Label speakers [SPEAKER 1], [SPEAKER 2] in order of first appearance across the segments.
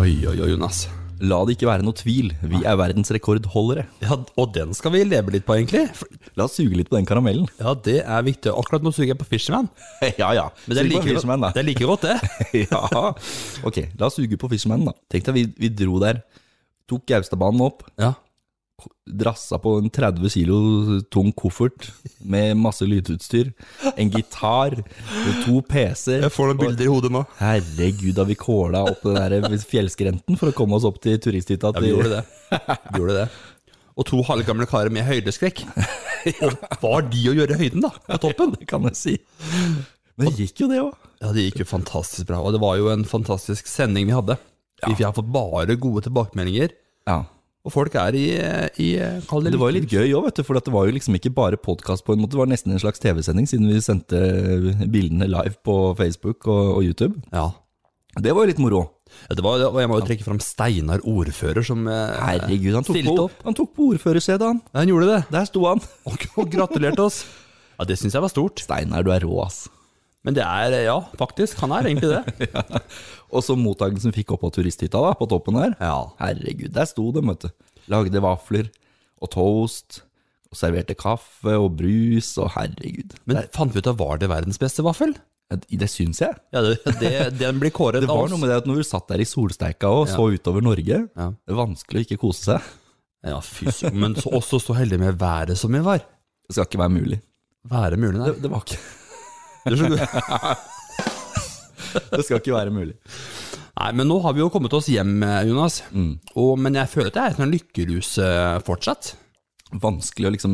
[SPEAKER 1] Oi, oi, oi, Jonas.
[SPEAKER 2] La det ikke være noe tvil, vi er verdensrekordholdere.
[SPEAKER 1] Ja, og den skal vi leve litt på, egentlig. For-
[SPEAKER 2] La oss suge litt på den karamellen.
[SPEAKER 1] Ja, det er viktig. Akkurat nå suger jeg på Fisherman.
[SPEAKER 2] ja, ja.
[SPEAKER 1] Men det er
[SPEAKER 2] Sug på
[SPEAKER 1] like,
[SPEAKER 2] Fisherman, da.
[SPEAKER 1] godt- det er like godt, det.
[SPEAKER 2] ja. Ok, la oss suge på Fisherman, da. Tenk deg, vi, vi dro der, tok Gaustadbanen opp,
[SPEAKER 1] Ja.
[SPEAKER 2] drassa på en 30 kilo tung koffert med masse lydutstyr, en gitar, to PC-er.
[SPEAKER 1] får noen bilder i hodet nå.
[SPEAKER 2] Herregud, da vi kåla opp den der fjellskrenten for å komme oss opp til turisthytta.
[SPEAKER 1] Ja, vi gjorde det. Vi gjorde det. Og to halvgamle karer med høydeskrekk. Og hva har de å gjøre i høyden, da? På toppen?
[SPEAKER 2] det kan jeg si. Men det gikk jo det òg.
[SPEAKER 1] Ja, det gikk jo fantastisk bra. Og det var jo en fantastisk sending vi hadde. Vi har fått bare gode tilbakemeldinger.
[SPEAKER 2] Ja.
[SPEAKER 1] Og folk er i, i kall
[SPEAKER 2] Det var jo litt gøy òg, vet du. For at det var jo liksom ikke bare podkast på en måte. Det var nesten en slags TV-sending, siden vi sendte eh, bildene live på Facebook og, og YouTube.
[SPEAKER 1] Ja.
[SPEAKER 2] Det var jo litt moro.
[SPEAKER 1] Ja, Det var, og jeg må jo trekke fram Steinar ordfører, som eh,
[SPEAKER 2] Herregud, han tok
[SPEAKER 1] Stilte
[SPEAKER 2] på,
[SPEAKER 1] opp.
[SPEAKER 2] han tok på ordførersetet, han.
[SPEAKER 1] Ja, han gjorde det.
[SPEAKER 2] Der sto han.
[SPEAKER 1] Og, og gratulerte oss. Ja, det syns jeg var stort.
[SPEAKER 2] Steinar, du er rå, ass.
[SPEAKER 1] Men det er Ja, faktisk. Han er egentlig det.
[SPEAKER 2] Og så mottakelsen vi fikk opp på turisthytta, da, på toppen der.
[SPEAKER 1] Ja.
[SPEAKER 2] Herregud, der sto de, vet du. Lagde vafler og toast. Og serverte kaffe og brus, og herregud.
[SPEAKER 1] Men fant vi ut av var det verdens beste vaffel?
[SPEAKER 2] Det, det syns jeg.
[SPEAKER 1] Ja, det, det, Den blir kåret
[SPEAKER 2] Det
[SPEAKER 1] av
[SPEAKER 2] var
[SPEAKER 1] oss.
[SPEAKER 2] noe med det at når du satt der i solsteika og så utover Norge,
[SPEAKER 1] Ja.
[SPEAKER 2] det er vanskelig å ikke kose seg.
[SPEAKER 1] Ja, fy søren. Men så, også så heldig med været som vi var.
[SPEAKER 2] Det skal ikke være mulig.
[SPEAKER 1] Været mulig, nei.
[SPEAKER 2] Det, det var ikke
[SPEAKER 1] Det skjønner du.
[SPEAKER 2] Det skal ikke være mulig.
[SPEAKER 1] Nei, men nå har vi jo kommet oss hjem, Jonas.
[SPEAKER 2] Mm.
[SPEAKER 1] Og, men jeg føler at jeg er i en lykkerus eh, fortsatt.
[SPEAKER 2] Vanskelig å liksom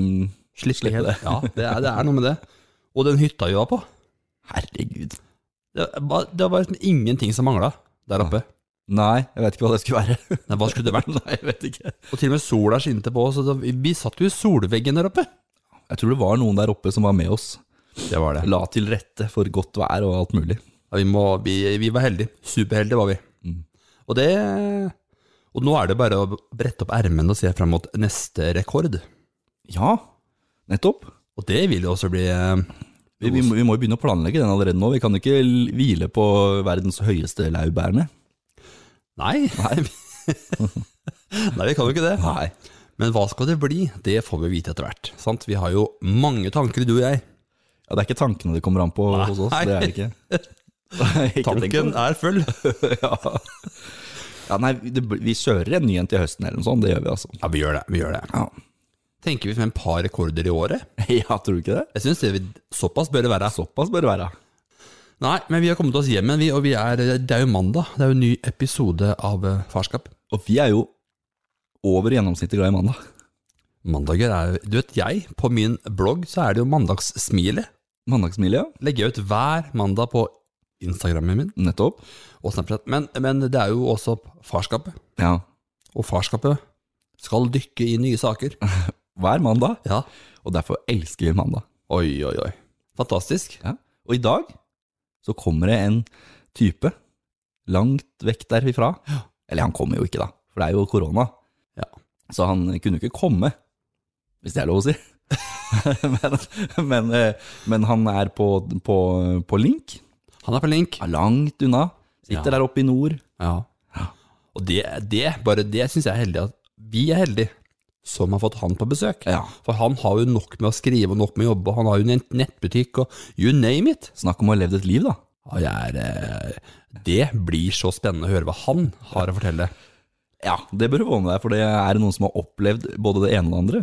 [SPEAKER 1] Slitt
[SPEAKER 2] Slippe det.
[SPEAKER 1] Ja, det er, det er noe med det. Og den hytta vi var på,
[SPEAKER 2] Herregud.
[SPEAKER 1] det var, det var liksom ingenting som mangla der oppe.
[SPEAKER 2] Nei, jeg vet ikke hva det skulle være.
[SPEAKER 1] Nei, hva skulle det vært?
[SPEAKER 2] Nei, jeg vet ikke.
[SPEAKER 1] Og til og med sola skinte på oss. og da- Vi, vi satt jo i solveggen der oppe.
[SPEAKER 2] Jeg tror det var noen der oppe som var med oss.
[SPEAKER 1] Det var det.
[SPEAKER 2] La til rette for godt vær og alt mulig.
[SPEAKER 1] Ja, vi, må, vi, vi var heldige. Superheldige var vi.
[SPEAKER 2] Mm.
[SPEAKER 1] Og det Og nå er det bare å brette opp ermene og se fram mot neste rekord.
[SPEAKER 2] Ja, nettopp.
[SPEAKER 1] Og det vil jo også bli eh,
[SPEAKER 2] Vi, vi, må- vi må jo begynne å planlegge den allerede nå. Vi kan jo ikke l- hvile på verdens høyeste laurbærene.
[SPEAKER 1] Nei. Nei. vi kan jo ikke det.
[SPEAKER 2] Nei.
[SPEAKER 1] Men hva skal det bli? Det får vi vite etter hvert. Sant? Vi har jo mange tanker, du og jeg.
[SPEAKER 2] Ja, det er ikke tankene det kommer an på hos oss. Det er det ikke. Ikke tenk på
[SPEAKER 1] Tanken
[SPEAKER 2] det.
[SPEAKER 1] er full.
[SPEAKER 2] ja. ja, nei, det, blir- vi kjører en ny en til høsten eller noe sånt, det gjør vi altså.
[SPEAKER 1] Ja, vi gjør det. vi gjør det.
[SPEAKER 2] Ja,
[SPEAKER 1] Tenker vi frem et par rekorder i året?
[SPEAKER 2] tror du ikke det?
[SPEAKER 1] Jeg syns såpass bør det være.
[SPEAKER 2] Såpass bør det være.
[SPEAKER 1] Nei, men vi har kommet oss hjem igjen, vi, og vi er, det er jo mandag. Det er jo en ny episode av eh, Farskap.
[SPEAKER 2] Og vi er jo over gjennomsnittet glad i mandag.
[SPEAKER 1] Mandager er jo Du vet, jeg, på min blogg, så er det jo mandagssmilet.
[SPEAKER 2] Mandagsmiljø,
[SPEAKER 1] Legger jeg ut hver mandag på Instagrammen min
[SPEAKER 2] nettopp.
[SPEAKER 1] og Snapchat. Men, men det er jo også farskapet.
[SPEAKER 2] Ja,
[SPEAKER 1] Og farskapet skal dykke i nye saker.
[SPEAKER 2] hver mandag.
[SPEAKER 1] Ja.
[SPEAKER 2] Og derfor elsker vi mandag.
[SPEAKER 1] Oi, oi, oi. Fantastisk.
[SPEAKER 2] Ja. Og i dag så kommer det en type langt vekk derifra. Eller han kommer jo ikke, da, for det er jo korona.
[SPEAKER 1] Ja.
[SPEAKER 2] Så han kunne jo ikke komme, hvis det er lov å si. men, men, eh, men han er på, på, på link,
[SPEAKER 1] Han er på link.
[SPEAKER 2] er langt unna. Sitter
[SPEAKER 1] Ja.
[SPEAKER 2] der oppe i nord.
[SPEAKER 1] Ja. Og det, det bare det syns jeg er heldig at vi er heldige som har fått han på besøk.
[SPEAKER 2] Ja.
[SPEAKER 1] For han har jo nok med å skrive og nok med å jobbe. Han har jo en nettbutikk og you name it.
[SPEAKER 2] Snakk om å ha levd et liv, da.
[SPEAKER 1] Og jeg er, eh, det blir så spennende å høre hva han har å fortelle.
[SPEAKER 2] Ja, det bør du få med deg, for det er noen som har opplevd både det ene og det andre.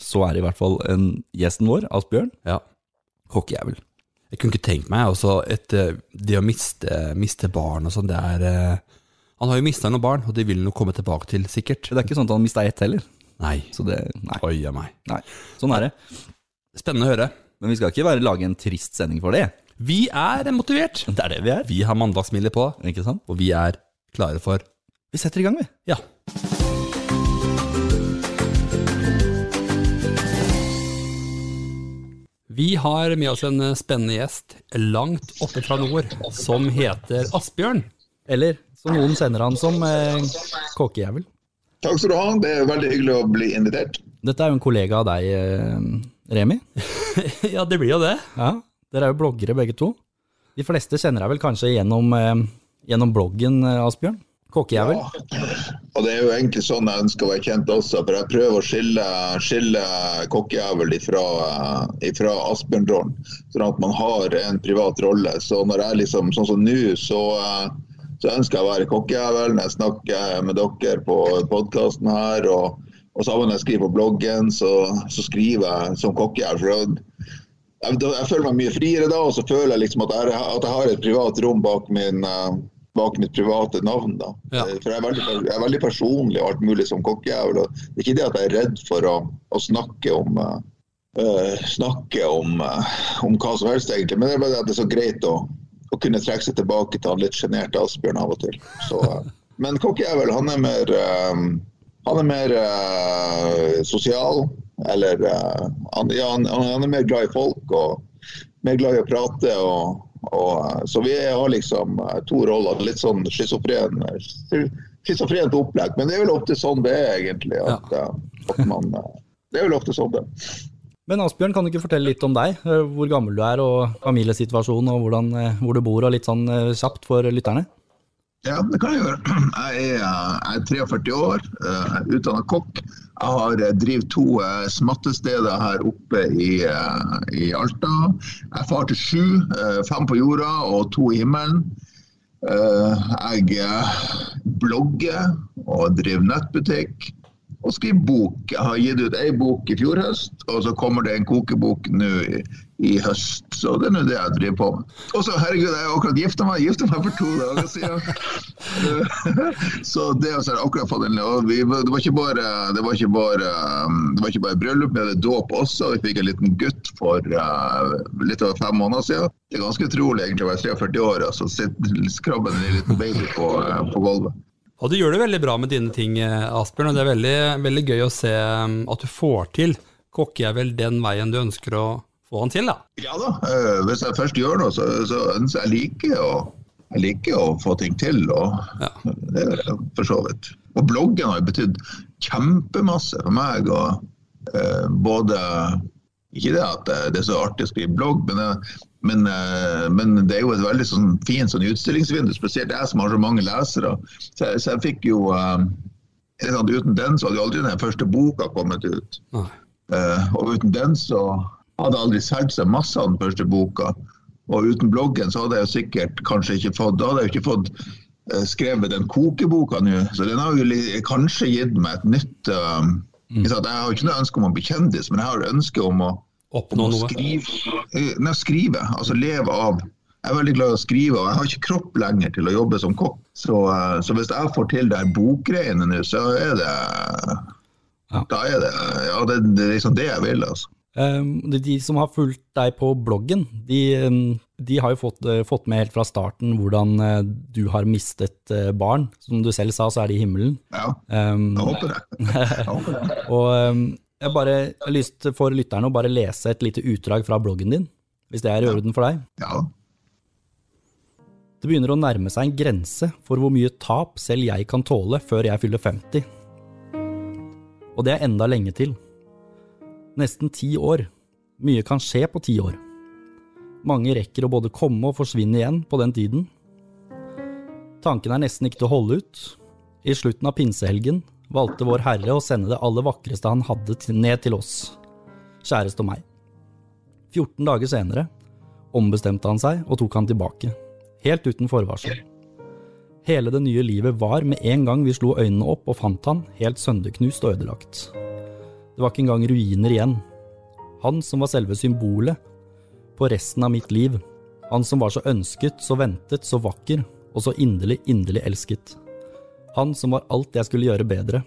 [SPEAKER 2] Så er det i hvert fall en, gjesten vår, Asbjørn,
[SPEAKER 1] Ja.
[SPEAKER 2] kokkejævel.
[SPEAKER 1] Jeg kunne ikke tenkt meg altså et, eh, det å miste, miste barn og sånn. Det er eh, Han har jo mista noen barn, og det vil han jo komme tilbake til, sikkert.
[SPEAKER 2] Det er ikke sånn at han mista ett heller.
[SPEAKER 1] Nei.
[SPEAKER 2] Så det, nei,
[SPEAKER 1] Oi a meg.
[SPEAKER 2] nei. Sånn er det.
[SPEAKER 1] Spennende å høre.
[SPEAKER 2] Men vi skal ikke være, lage en trist sending for det.
[SPEAKER 1] Vi er motivert.
[SPEAKER 2] Det er det vi er.
[SPEAKER 1] Vi har mandagsmilde på,
[SPEAKER 2] Ikke sant?
[SPEAKER 1] og vi er klare for
[SPEAKER 2] Vi setter i gang, vi.
[SPEAKER 1] Ja. Vi har med oss en eh, spennende gjest langt oppe fra nord, som heter Asbjørn.
[SPEAKER 2] Eller som noen sender han som, eh, kokkejævel.
[SPEAKER 3] Takk skal du ha. Det er veldig hyggelig å bli invitert.
[SPEAKER 2] Dette er jo en kollega av deg, eh, Remi.
[SPEAKER 1] Ja, det blir jo det.
[SPEAKER 2] Ja, Dere er jo bloggere begge to. De fleste kjenner deg vel kanskje gjennom, eh, gjennom bloggen, eh, Asbjørn?
[SPEAKER 1] Kokkejævel?
[SPEAKER 3] Og det er jo egentlig sånn jeg ønsker å være kjent også, for jeg prøver å skille, skille kokkejævel ifra, ifra Asbjørndalen. Sånn at man har en privat rolle. Så når jeg liksom, sånn som nå, så, eh, så ønsker jeg å være kokkejævel når jeg snakker med dere på podkasten her. Og, og sammen når jeg skriver på bloggen, så, så skriver jeg som kokkejævel. for da- Jeg, da- jeg føler meg mye friere da, og så føler jeg liksom at jeg, at jeg har et privat rom bak, min, eh, bak mitt private navn. da. Eh,
[SPEAKER 1] Ja.
[SPEAKER 3] For jeg er, veldig, jeg er veldig personlig og alt mulig som kokkejævel. og Det er ikke det at jeg er redd for å, å snakke om eh, eh, snakke om, eh, om hva som helst, egentlig. Men det er bare det at det er så greit å, å kunne trekke seg tilbake til han litt sjenerte Asbjørn av og til. Så, eh, men kokkejævel, han er mer eh, han er mer eh, sosial. Eller eh, han, ja, han, han er mer glad i folk og mer glad i å prate. Og, og, eh, så vi har liksom eh, to roller. Litt sånn schizofren eh, schizofrent opplegg. Men det er vel ofte sånn det er, egentlig. At, eh, at man, eh, det er vel ofte sånn det er.
[SPEAKER 2] Men Asbjørn, kan du ikke fortelle litt om deg? Eh, Hvor gammel du er, og familiesituasjonen, og hvordan, eh, hvor du bor, og litt sånn eh, kjapt for lytterne?
[SPEAKER 3] Ja, det kan jeg gjøre. Jeg er, eh, jeg er 43 år, eh, utdannet kokk. Jeg har eh, driv to eh, smattesteder her oppe i, eh, i Alta. Jeg er far til sju, eh, fem på jorda og to i himmelen. Eh, Jeg eh, blogger og driver nettbutikk og skriver bok. Jeg har gitt ut ei bok i fjor høst, og så kommer det en kokebok nå i, i høst. Så det er nå det jeg driver på med. Og så, herregud, jeg har akkurat gifta meg, gifta meg for to dager siden. så det altså, jeg har akkurat fått en og vi, Det var ikke bare, det var ikke bare, um, det var ikke bare bryllup, vi hadde dåp også. Vi fikk en liten gutt for uh, litt over fem måneder siden. Det er ganske utrolig egentlig å være 43 år og så sitter skrabben en liten baby på, uh, på gulvet.
[SPEAKER 1] Og du gjør det veldig bra med dine ting, eh, Asbjørn. Og det er veldig, veldig gøy å se um, at du får til kokkejævel den veien du ønsker å få han til, da.
[SPEAKER 3] Ja da. eh, hvis jeg først gjør noe, så, så ønsker jeg liker å, jeg liker å få ting til. Og,
[SPEAKER 1] Ja.
[SPEAKER 3] Det gjør jeg for så vidt. Og bloggen har jo betydd kjempemasse for meg. Og, eh, både Ikke det at eh, det- det er så artig å skrive blogg, men, jeg- men, eh, men det er jo et veldig sånn, fint sånn utstillingsvindu. Spesielt jeg som har så mange lesere. Så jeg, så jeg fikk jo eh, det er sant, Uten den så hadde jo aldri den første boka kommet ut.
[SPEAKER 1] Nei.
[SPEAKER 3] Eh, og uten den så hadde jeg aldri solgt seg masse av den første boka. Og uten bloggen så hadde jeg jo sikkert kanskje ikke fått Da hadde jeg jo ikke fått eh, skrevet den kokeboka nå. Så den har jo li- kanskje gitt meg et nytt eh, ikke sant, Jeg har jo ikke noe ønske om å bli kjendis, men jeg har ønske om å, om
[SPEAKER 1] Oppnå
[SPEAKER 3] å
[SPEAKER 1] noe.
[SPEAKER 3] skrive, eh, nei, skrive. Altså leve av. Jeg er veldig glad i å skrive, og jeg har ikke kropp lenger til å jobbe som kokk. Så, eh, så hvis jeg får til de bokgreiene nå, så er det
[SPEAKER 2] Ja.
[SPEAKER 3] Da er det, ja, det, det er liksom det jeg vil, altså.
[SPEAKER 2] Um, de, de som har fulgt deg på bloggen, de, um, de har jo fått, eh, fått med helt fra starten hvordan eh, du har mistet eh, barn. Som du selv sa, så er de i himmelen.
[SPEAKER 3] Ja,
[SPEAKER 2] Um,
[SPEAKER 3] jeg håper det. Jeg håper det.
[SPEAKER 2] og um, jeg, bare, jeg har lyst til for lytterne å bare lese et lite utdrag fra bloggen din, hvis det er i orden for deg.
[SPEAKER 3] Ja.
[SPEAKER 2] Det begynner å nærme seg en grense for hvor mye tap selv jeg kan tåle før jeg fyller 50. Og det er enda lenge til. Nesten ti år. Mye kan skje på ti år. Mange rekker å både komme og forsvinne igjen på den tiden. Tanken er nesten ikke til å holde ut. I slutten av pinsehelgen valgte Vår Herre å sende det aller vakreste han hadde til- ned til oss, kjæreste og meg. 14 dager senere ombestemte han seg og tok han tilbake helt uten forvarsel. Hele det nye livet var med en gang vi slo øynene opp og fant han, helt sønderknust og ødelagt. Det var ikke engang ruiner igjen. Han som var selve symbolet på resten av mitt liv. Han som var så ønsket, så ventet, så vakker, og så inderlig, inderlig elsket. Han som var alt jeg skulle gjøre bedre.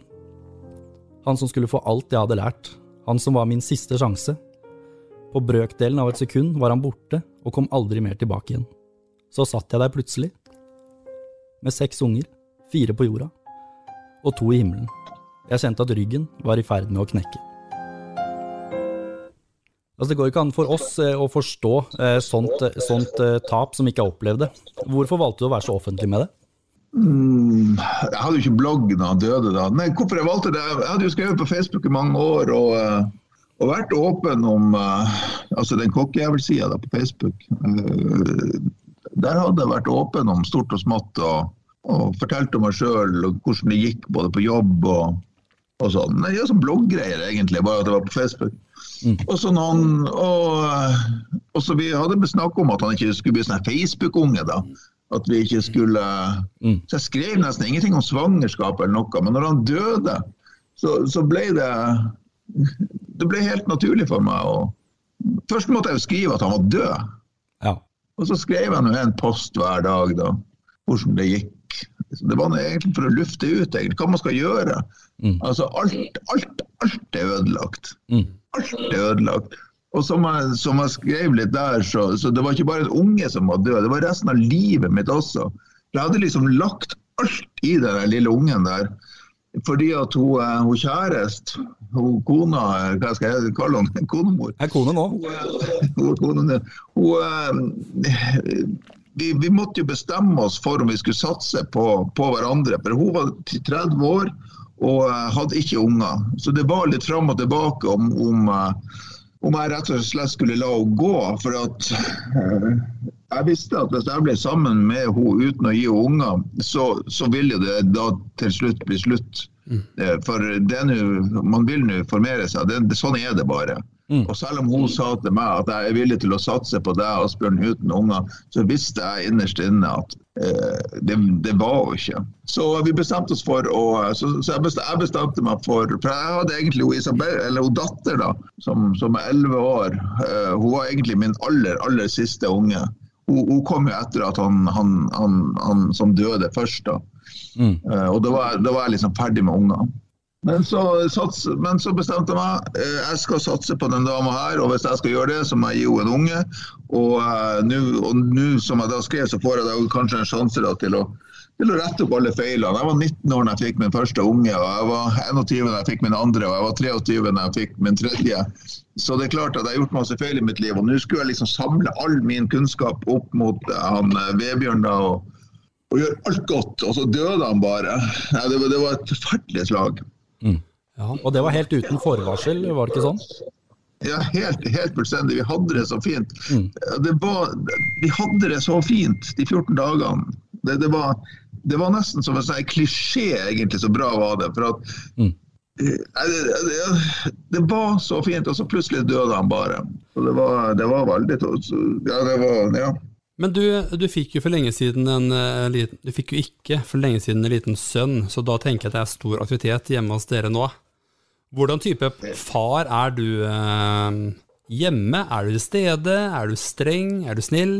[SPEAKER 2] Han som skulle få alt jeg hadde lært. Han som var min siste sjanse. På brøkdelen av et sekund var han borte og kom aldri mer tilbake igjen. Så satt jeg der plutselig, med seks unger, fire på jorda og to i himmelen. Jeg kjente at ryggen var i ferd med å knekke. Altså Det går ikke an for oss eh, å forstå eh, sånt, eh, sånt eh, tap som ikke er opplevd. Hvorfor valgte du å være så offentlig med det?
[SPEAKER 3] Mm, jeg hadde jo ikke blogg da han døde. da. Nei, hvorfor jeg valgte det? Jeg hadde jo skrevet på Facebook i mange år og, eh, og vært åpen om eh, altså den kokkejævelsida da på Facebook. Eh, Der hadde jeg vært åpen om stort og smått. og og fortalte om meg sjøl og hvordan det gikk både på jobb og, og sånn. Det er jo sånn blogggreier, egentlig, bare at det var på Facebook. Og, så noen, og, eh, og så vi hadde snakk om at han ikke skulle bli sånn Facebook-unge, da. At vi ikke skulle
[SPEAKER 2] Mm.
[SPEAKER 3] Så jeg skrev nesten ingenting om svangerskap eller noe, men når han døde, så, så ble det Det ble helt naturlig for meg å Først måtte jeg jo skrive at han var død.
[SPEAKER 2] Ja.
[SPEAKER 3] Og så skrev jeg nå en post hver dag, da, hvordan det gikk. Så Det var nå egentlig for å lufte ut egentlig, hva man skal gjøre.
[SPEAKER 2] Mm.
[SPEAKER 3] Altså, alt, alt, alt er ødelagt.
[SPEAKER 2] Mm.
[SPEAKER 3] Alt er ødelagt. Og som jeg, som jeg skrev litt der, så, så det var ikke bare en unge som var død, det var resten av livet mitt også. Jeg hadde liksom lagt alt i den der lille ungen der. Fordi at hun, eh, hun kjærest, hun kona, eh, hva skal jeg kalle henne, konemor,
[SPEAKER 2] Er kone nå?
[SPEAKER 3] hun, hun, hun, eh, vi, vi måtte jo bestemme oss for om vi skulle satse på, på hverandre. For hun var 30 år og eh, hadde ikke unger. Så det var litt fram og tilbake om, om, eh, om jeg rett og slett skulle la henne gå. For at eh, jeg visste at hvis jeg ble sammen med henne uten å gi henne unger, så, så ville det da til slutt bli slutt. Eh, For det er nå- man vil nå formere seg. Det, det, sånn er det bare.
[SPEAKER 2] Mm.
[SPEAKER 3] Og selv om hun sa til meg at jeg er villig til å satse på deg, Asbjørn, uten unger, så visste jeg innerst inne at eh, det, det var hun ikke. Så vi bestemte oss for å Så, så jeg, bestemte, jeg bestemte meg for For jeg hadde egentlig hun Isabel, eller hun datter, da, som, som er 11 år. eh, hun var egentlig min aller, aller siste unge. Hun, hun kom jo etter at han, han, han, han som døde først, da.
[SPEAKER 2] Mm.
[SPEAKER 3] Eh, Og da var, da var jeg liksom ferdig med ungene. Men så, sats, men så bestemte jeg meg eh, jeg skal satse på den dama her, og hvis jeg skal gjøre det, så må jeg gi henne en unge. Og eh, nå- og nå som jeg da skrev, så får jeg da kanskje en sjanse da, til, å, til å rette opp alle feilene. Jeg var 19 år da jeg fikk min første unge, og jeg var 21 da jeg fikk min andre, og jeg var 23 da jeg fikk min tredje. Så det er klart at jeg har gjort masse feil i mitt liv, og nå skulle jeg liksom samle all min kunnskap opp mot eh, han eh, Vebjørn da. og og gjør alt godt, og så døde han bare. Nei, det, var- det var et forferdelig slag.
[SPEAKER 1] Ja.
[SPEAKER 2] Og det var helt uten forvarsel, var det ikke sånn?
[SPEAKER 3] Ja, helt, helt fullstendig. Vi hadde det så fint.
[SPEAKER 2] Mm.
[SPEAKER 3] Det var, vi hadde det så fint de 14 dagene. Det, det, var, det var nesten som en sånn klisjé, egentlig, så bra var det. For at
[SPEAKER 2] Mm.
[SPEAKER 3] Eh, det, det, det var så fint, og så plutselig døde han bare. Og det var, det var veldig to- Ja, det var Ja.
[SPEAKER 1] Men du, du fikk jo for lenge siden en eh, liten Du fikk jo ikke for lenge siden en liten sønn, så da tenker jeg at det er stor aktivitet hjemme hos dere nå. Hvordan type far er du eh, hjemme? Er du til stede? Er du streng? Er du snill?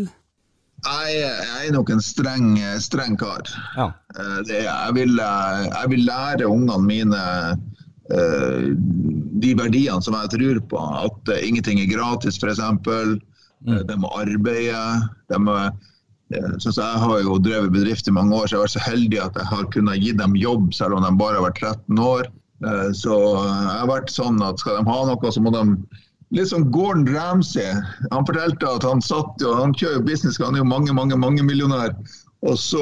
[SPEAKER 3] Jeg, jeg er nok en streng, eh, streng kar.
[SPEAKER 2] Ja.
[SPEAKER 3] Eh, det, er- jeg, vil, eh, jeg vil lære ungene mine eh, de verdiene som jeg tror på. At eh, ingenting er gratis, f.eks. Mm. De må arbeide. De må, eh, sånn som jeg har jo drevet bedrift i mange år, så jeg har vært så heldig at jeg har kunnet gi dem jobb, selv om de bare har vært 13 år. Eh, Så jeg har vært sånn at skal de ha noe, så må de Litt som Gordon Ramsay. Han fortalte at han satt jo, han kjører jo business, han er jo mange, mange, mange millionær. Og, så,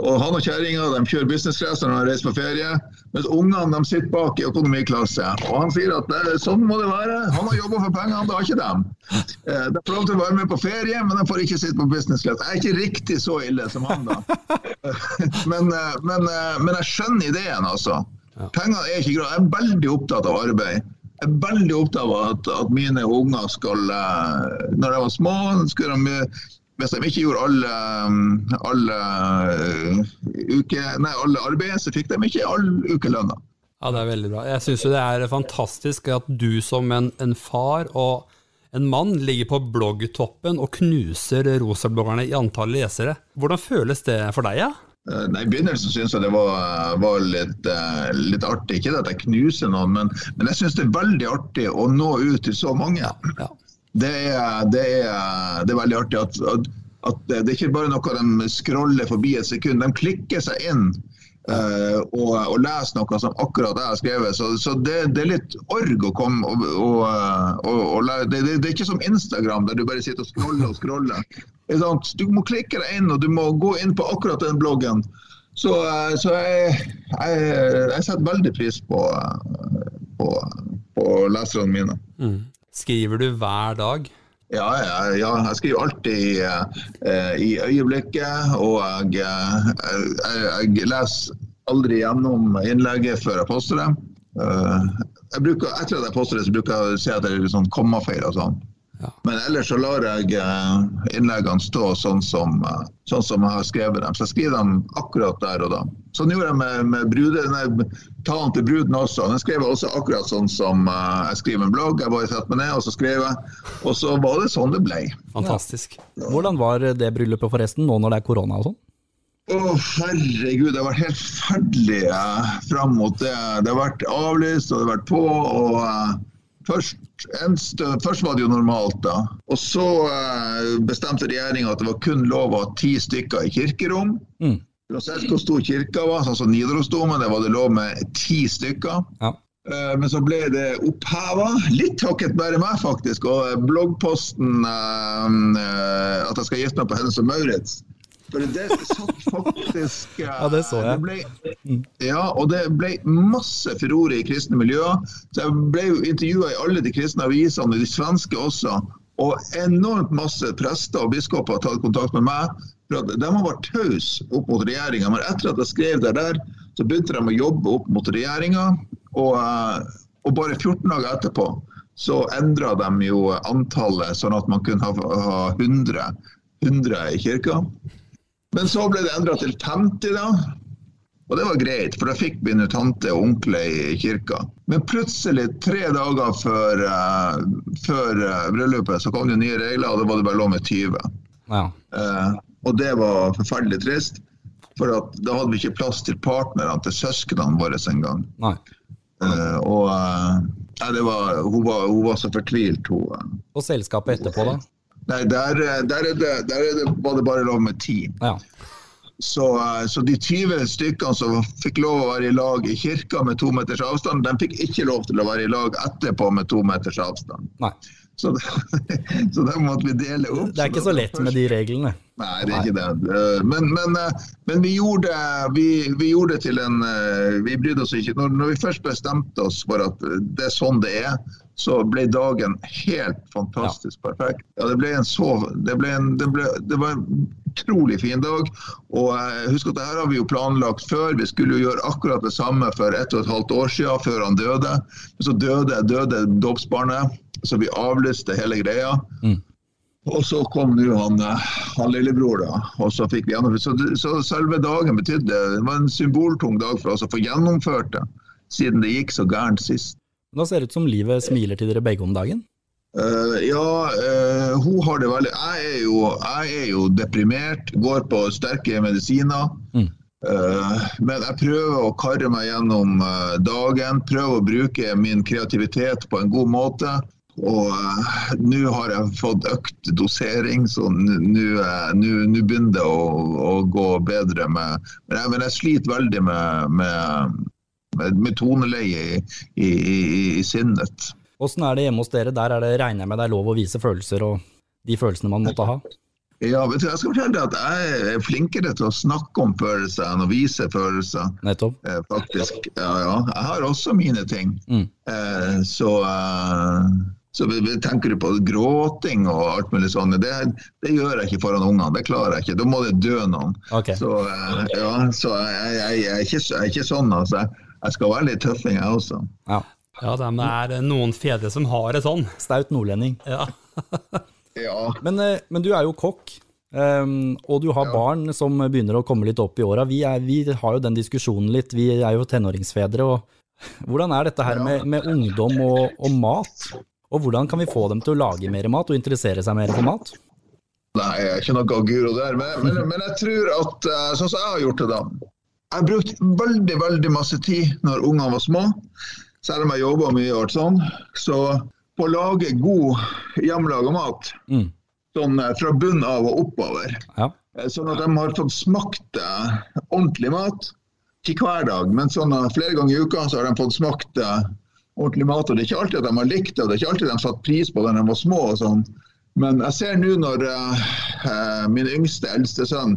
[SPEAKER 3] og han og kjerringa de kjører businessklasse når de reiser på ferie, mens ungene de sitter bak i økonomiklasse. Og han sier at det, sånn må det være. Han har jobba for pengene, det har ikke dem. Eh, De får lov til å være med på ferie, men de får ikke sitte på businessklasse. Jeg er ikke riktig så ille som han, da. men, eh, men, eh, men jeg skjønner ideen, altså. Penger er ikke greit. Jeg er veldig opptatt av arbeid. Jeg er veldig opptatt av at, at mine unger skal eh, Når de var små, skulle de eh, hvis de ikke gjorde alle, eh, alle, eh, uke, nei, alle arbeid, så fikk de ikke all ukelønna.
[SPEAKER 1] Ja, det er veldig bra. Jeg syns jo det er fantastisk at du som en, en far og en mann ligger på bloggtoppen og knuser rosabloggerne i antall lesere. Hvordan føles det for deg, ja?
[SPEAKER 3] Eh, Nei, I begynnelsen syns jeg det var, var litt, eh, litt artig. Ikke det at jeg knuser noen, men, men jeg syns det er veldig artig å nå ut til så mange.
[SPEAKER 1] ja.
[SPEAKER 3] Det er, det er, det er veldig artig at, at, at det er ikke bare noe de scroller forbi et sekund. De klikker seg inn eh, og, og leser noe som akkurat jeg har skrevet. Så, så det, det er litt org å komme og, og, og, og lære. Det, det, det er ikke som Instagram, der du bare sitter og scroller og scroller. Det er sant? Du må klikke deg inn, og du må gå inn på akkurat den bloggen. Så, eh, så jeg, jeg, jeg setter veldig pris på, eh, på, på leserne mine.
[SPEAKER 1] Skriver du Mm. hver dag?
[SPEAKER 3] Ja, ja, ja, jeg skriver alltid eh, i øyeblikket, og jeg, eh, jeg, jeg leser aldri gjennom innlegget før jeg poster det. Eh, jeg bruker, etter at jeg poster det, så bruker jeg å se at det er litt sånn kommafeil og sånn.
[SPEAKER 1] Ja.
[SPEAKER 3] Men ellers så lar jeg eh, innleggene stå sånn som, eh, sånn som jeg har skrevet dem. Så jeg skriver dem akkurat der og da. Sånn gjorde jeg med, med brude, nei, talen til bruden også. Den skrev jeg også akkurat sånn som eh, jeg skriver en blogg. Jeg bare satte meg ned og så skrev jeg. Og så var det sånn det ble.
[SPEAKER 1] Fantastisk.
[SPEAKER 2] Hvordan var det bryllupet forresten, nå når det er korona og sånn?
[SPEAKER 3] Å, herregud. Det har vært helt forferdelig eh, fram mot det. Det har vært avlyst, og det har vært på. og... eh, Først, en stø- først var det jo normalt, da. Og så eh, bestemte regjeringa at det var kun lov å ha ti stykker i kirkerom.
[SPEAKER 2] Mm.
[SPEAKER 3] Uansett hvor stor kirka var, sånn som Nidarosdomen, der var det lov med ti stykker.
[SPEAKER 2] Ja.
[SPEAKER 3] Eh, Men så ble det oppheva, litt takket være meg faktisk, og eh, bloggposten eh, eh, at jeg skal gifte meg på Hennes og Maurits. For det satt faktisk eh,
[SPEAKER 2] Ja, det så jeg.
[SPEAKER 3] ble, ja, og det ble masse furore i kristne miljøer. Så jeg ble jo intervjua i alle de kristne avisene, og de svenske også. Og enormt masse prester og biskoper har tatt kontakt med meg. For at de har vært tause opp mot regjeringa. Men etter at jeg skrev det der, så begynte de å jobbe opp mot regjeringa. Og, eh, og bare 14 dager etterpå så endra de jo antallet, sånn at man kunne ha, ha 100, 100 i kirka. Men så ble det endra til 50, da. Og det var greit, for da fikk min tante og onkel i kirka. Men plutselig, tre dager før, eh, før eh, bryllupet, så kom det nye regler, og da var det bare lov med 20.
[SPEAKER 2] Ja.
[SPEAKER 3] Eh, og det var forferdelig trist, for at da hadde vi ikke plass til partnerne til søsknene våre engang.
[SPEAKER 2] Nei.
[SPEAKER 3] Uh, og eh, nei, det var, hun, var, hun var så fortvilt, hun. eh.
[SPEAKER 2] Og selskapet etterpå, da?
[SPEAKER 3] Nei, der, eh, der, er det, der er det, var det bare lov med ti.
[SPEAKER 2] Ja.
[SPEAKER 3] Så, eh, så de 20 stykkene som fikk lov å være i lag i kirka med to meters avstand, de fikk ikke lov til å være i lag etterpå med to meters avstand.
[SPEAKER 2] Nei.
[SPEAKER 3] Så, så dem måtte vi dele opp.
[SPEAKER 2] Det er ikke så lett med de reglene.
[SPEAKER 3] Nei, det er ikke det. Eh, Men, men, eh, men vi, gjorde, vi, vi gjorde det til en eh, Vi brydde oss ikke. Når, når vi først bestemte oss for at eh, det er sånn det er, så ble dagen helt fantastisk perfekt. Ja, det ble en så Det, ble en, det, ble, det var en utrolig fin dag. Og eh, husk at det her har vi jo planlagt før. Vi skulle jo gjøre akkurat det samme for ett og et halvt år siden, før han døde. Men så døde, døde dåpsbarnet, så vi avlyste hele greia. Og så kom nå han, eh, han lillebror, da. Og så fikk vi gjennomført. Så, så selve dagen betydde Det var en symboltung dag for oss å få gjennomført det, siden det gikk så gærent sist.
[SPEAKER 2] Men da ser det ut som livet smiler til dere begge om dagen.
[SPEAKER 3] Eh, ja, eh, hun har det veldig Jeg er jo, jeg er jo deprimert, går på sterke medisiner.
[SPEAKER 2] Mm.
[SPEAKER 3] Eh, men jeg prøver å karre meg gjennom eh, dagen, prøver å bruke min kreativitet på en god måte. Og eh, nå har jeg fått økt dosering, så n- nå eh, nå- nå begynner det å, å gå bedre med Men jeg, men jeg sliter veldig med, med, med, med toneleie i, i, i, i sinnet.
[SPEAKER 2] Åssen er det hjemme hos dere? Der er det, regner jeg med det er lov å vise følelser og de følelsene man måtte ha.
[SPEAKER 3] Ja, vet du, jeg skal fortelle deg at jeg er flinkere til å snakke om følelser enn å vise følelser,
[SPEAKER 2] Nettopp.
[SPEAKER 3] eh, faktisk. Ja, ja. Jeg har også mine ting.
[SPEAKER 2] Mm.
[SPEAKER 3] Eh, så eh, så vi- vi tenker du på gråting og alt mulig sånt. Det, det gjør jeg ikke foran ungene. Det klarer jeg ikke. Da må det dø noen.
[SPEAKER 2] Ok.
[SPEAKER 3] Så, eh, ja, så jeg, jeg, jeg, er ikke, jeg er ikke sånn, altså. Jeg skal være litt tøffing, jeg også.
[SPEAKER 2] Ja.
[SPEAKER 1] Ja, det er- men det er noen fedre som har det sånn.
[SPEAKER 2] Staut nordlending.
[SPEAKER 1] Ja.
[SPEAKER 3] Ja.
[SPEAKER 2] Men, eh, men du er jo kokk, ehm, og du har barn som begynner å komme litt opp i åra. Vi, er- vi har jo den diskusjonen litt, vi er jo tenåringsfedre. Og hvordan er dette her med, med ungdom og, og mat? Og hvordan kan vi få dem til å lage mer mat og interessere seg mer for mat?
[SPEAKER 3] Nei, jeg er ikke noe guro der, men, men, men jeg tror at eh, sånn som jeg har gjort det, da. Jeg brukte veldig veldig masse tid når ungene var små, selv om jeg jobba mye og alt sånn, så på å lage god hjemmelaga mat
[SPEAKER 2] Mm.
[SPEAKER 3] sånn eh, fra bunnen av og oppover.
[SPEAKER 2] Ja.
[SPEAKER 3] Eh, Sånn at de har fått smakt eh, ordentlig mat. Ikke hver dag, men sånn eh, flere ganger i uka så har de fått smakt eh, ordentlig mat. Og det er ikke alltid at de har likt det, og det er ikke alltid de har satt pris på det når de var små. og sånn. Men jeg ser nå når eh, eh, min yngste, eldste sønn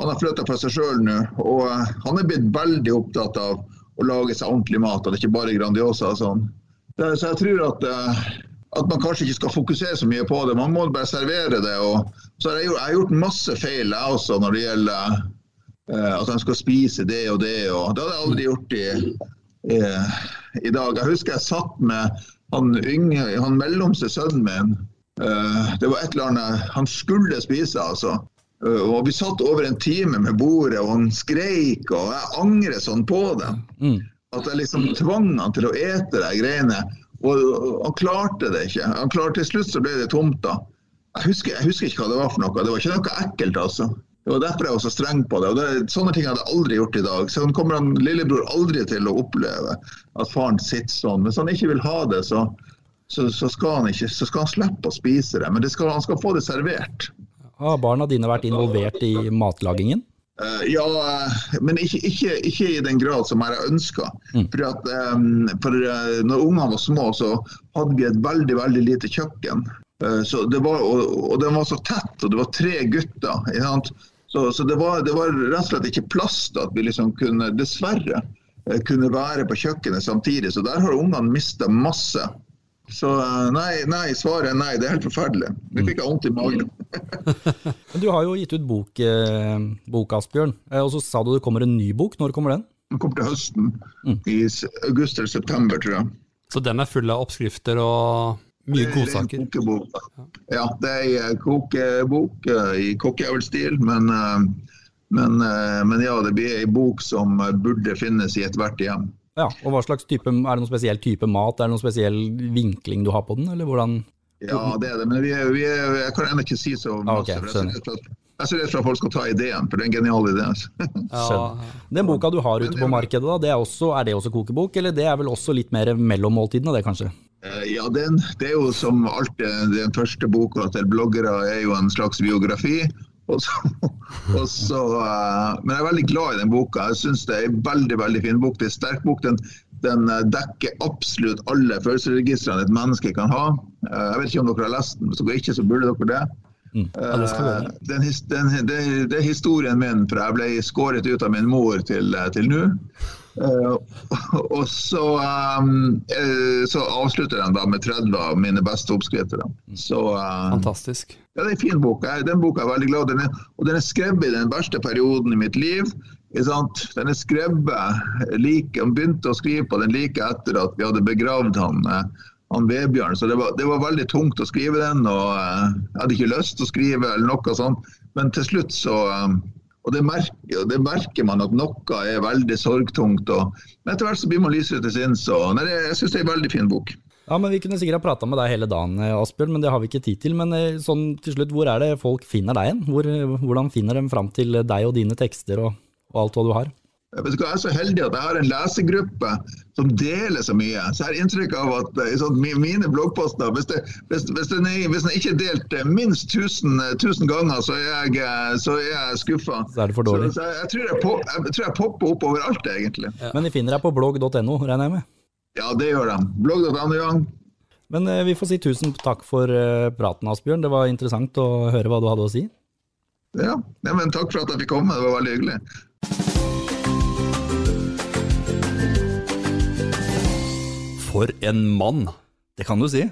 [SPEAKER 3] han har flytta for seg sjøl nå, og eh, han er blitt veldig opptatt av å lage seg ordentlig mat, og det er ikke bare Grandiosa og sånn. Det- Så jeg tror at, eh, at man kanskje ikke skal fokusere så mye på det. Man må bare servere det. Og så har jeg, gjort, jeg har gjort masse feil jeg også når det gjelder eh, at de skal spise det og det. Og det hadde jeg aldri gjort i, i, i dag. Jeg husker jeg satt med han, yngre, han mellomste sønnen min. Eh, det var et eller annet han skulle spise, altså. Eh, og vi satt over en time med bordet, og han skreik, og jeg angrer sånn på det.
[SPEAKER 2] Mm.
[SPEAKER 3] At jeg liksom tvang han til å ete de greiene. Og og han klarte det ikke. Han klarte, til slutt så ble det tomt, da. Jeg husker, jeg husker ikke hva det var for noe. Det var ikke noe ekkelt, altså. Det var derfor jeg var så streng på det. og det, Sånne ting hadde jeg aldri gjort i dag. Så han kommer han lillebror aldri til å oppleve at faren sitter sånn. Hvis han ikke vil ha det, så, så, så, skal, han ikke, så skal han slippe å spise det. Men det skal, han skal få det servert.
[SPEAKER 2] Har barna dine vært involvert i matlagingen?
[SPEAKER 3] Eh, ja, eh, men ikke, ikke, ikke i den grad som jeg ønska.
[SPEAKER 2] Mm.
[SPEAKER 3] For, at, eh, for eh, når ungene var små, så hadde vi et veldig veldig lite kjøkken. Eh, så det var, og, og den var så tett, og det var tre gutter. Ikke sant? Så, så det, var, det var rett og slett ikke plass til at vi liksom kunne, dessverre, eh, kunne være på kjøkkenet samtidig. Så der har ungene mista masse. Så eh, nei, nei, svaret er nei. Det er helt forferdelig. Nå fikk jeg vondt i magen.
[SPEAKER 2] Men Du har jo gitt ut bok, eh, bok Asbjørn, eh, og så sa du det kommer en ny bok. Når kommer den?
[SPEAKER 3] Den kommer til høsten. I s- august eller september, tror jeg.
[SPEAKER 1] Så den er full av oppskrifter og mye
[SPEAKER 3] Det er
[SPEAKER 1] godsaker.
[SPEAKER 3] Eh, en kokebok. Ja, det er en eh, kokebok eh, i kokkeøvelstil, men, eh, men, eh, men ja, det blir en bok som eh, burde finnes i ethvert hjem.
[SPEAKER 2] Ja, og hva slags type, Er det noen spesiell type mat? Er det noen spesiell vinkling du har på den? eller hvordan?
[SPEAKER 3] Ja, det er det, men vi er, vi er, jeg kan ennå ikke si så
[SPEAKER 2] Ah, ok,
[SPEAKER 3] masse. for jeg er så redd for at- jeg er så redd for at folk skal ta ideen, for det er en genial idé. altså.
[SPEAKER 1] Ja,
[SPEAKER 2] Skjønner. Den boka du har ute på markedet, da, det er, også, er det også kokebok? Eller det er vel også litt mer mellom måltidene, det kanskje?
[SPEAKER 3] Eh, Ja, den, det er jo som alltid, den første boka til bloggere er jo en slags biografi. Og så, og så, eh, men jeg er veldig glad i den boka. Jeg syns det er en veldig veldig fin bok. Det er en sterk bok. Den, den eh, dekker absolutt alle følelsesregistrene et menneske kan ha. Eh, Jeg vet ikke om dere har lest den, hvis dere ikke, så burde dere det.
[SPEAKER 1] Mm. ja, det skal vi gjøre.
[SPEAKER 3] Eh, den, his- den, det, det er historien min fra jeg ble skåret ut av min mor til, til nå. Eh, og så, um, eh, så avslutter den da med 30 av mine beste oppskrifter. da. Så eh,
[SPEAKER 1] Fantastisk.
[SPEAKER 3] ja, det er en fin bok. Jeg- Den boka er jeg veldig glad i. Den er- Og den er skrevet i den verste perioden i mitt liv. Ikke sant? Den er skrevet like, Han begynte å skrive på den like etter at vi hadde begravd han, eh, han Vebjørn. Så det var, det var veldig tungt å skrive den. og eh, Jeg hadde ikke lyst til å skrive eller noe sånt. Men til slutt så eh, og det merker, og det merker man at noe er veldig sorgtungt. Og, men etter hvert så blir man lysere til sinns. og- Nei, det- Jeg syns det er en veldig fin bok.
[SPEAKER 2] Ja, men Vi kunne sikkert ha prata med deg hele dagen, eh, Asbjørn, men det har vi ikke tid til. Men eh, sånn til slutt, hvor er det folk finner deg hen? Hvor, eh, hvordan finner de fram til eh, deg og dine tekster og, og alt hva du har?
[SPEAKER 3] Vet du hva, Jeg er så heldig at jeg har en lesegruppe som deler så mye. Så jeg har inntrykk av at eh, sånn, mi- mine bloggposter, hvis, det, hvis, hvis, den er, hvis den ikke er delt eh, minst 1000, eh, 1000 ganger, så er jeg, eh, så er jeg skuffa.
[SPEAKER 2] Så er det for dårlig.
[SPEAKER 3] Så, så jeg, jeg, tror jeg, po- jeg tror jeg popper opp overalt, egentlig.
[SPEAKER 2] Men de finner deg på blogg.no, regner jeg med.
[SPEAKER 3] Ja, det gjør de. Blogg.no. Young.
[SPEAKER 2] Men eh, vi får si tusen takk for eh, praten, Asbjørn. Det var interessant å høre hva du hadde å si.
[SPEAKER 3] Ja. Nei, men takk for at jeg fikk komme, det var veldig hyggelig.
[SPEAKER 1] For en mann!
[SPEAKER 2] Det kan du si.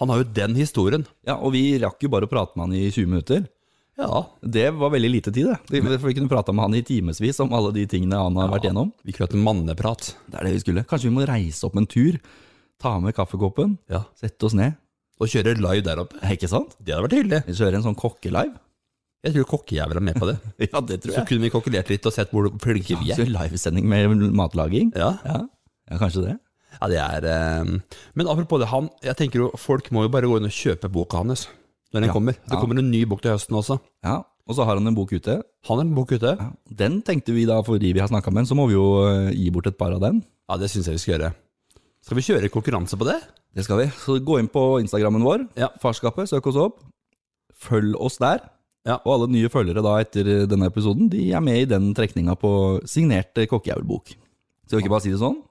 [SPEAKER 1] Han har jo den historien.
[SPEAKER 2] Ja, og vi rakk jo bare å prate med han i 20 minutter.
[SPEAKER 1] Ja,
[SPEAKER 2] Det var veldig lite tid, det. Vi- For vi kunne prata med han i timevis om alle de tingene han har vært gjennom.
[SPEAKER 1] vi kunne hatt en manneprat.
[SPEAKER 2] Det er det vi skulle. Kanskje vi må reise opp en tur, ta med kaffekoppen,
[SPEAKER 1] Ja.
[SPEAKER 2] sette oss ned.
[SPEAKER 1] Og kjøre live der oppe.
[SPEAKER 2] Ikke sant?
[SPEAKER 1] Det hadde vært hyggelig.
[SPEAKER 2] Vi kjører en sånn kokkelive.
[SPEAKER 1] Jeg tror kokkejævla er med på det.
[SPEAKER 2] Ja, det
[SPEAKER 1] Så kunne vi kokkelert litt og sett hvor flinke vi
[SPEAKER 2] Ja,
[SPEAKER 1] er.
[SPEAKER 2] så livesending med matlaging.
[SPEAKER 1] Ja,
[SPEAKER 2] Ja. ja, kanskje det.
[SPEAKER 1] ja det er eh, Men apropos det, han Jeg tenker jo folk må jo bare gå inn og kjøpe boka hans når den
[SPEAKER 2] Ja,
[SPEAKER 1] kommer. Det
[SPEAKER 2] ja.
[SPEAKER 1] kommer en ny bok til høsten også.
[SPEAKER 2] Ja, Og så har han en bok ute.
[SPEAKER 1] Han har en bok ute.
[SPEAKER 2] Ja, Den tenkte vi da, fordi vi har snakka med den, så må vi jo eh, gi bort et par av den.
[SPEAKER 1] Ja, det syns jeg vi skal gjøre. Skal vi kjøre konkurranse på det?
[SPEAKER 2] Det skal vi. Så gå inn på Instagrammen vår,
[SPEAKER 1] Ja.
[SPEAKER 2] Farskapet, søk oss opp. Følg oss der.
[SPEAKER 1] Ja.
[SPEAKER 2] Og alle nye følgere da etter eh, denne episoden, de er med i den trekninga på signert eh, kokkejævelbok. Skal vi ikke bare si det sånn?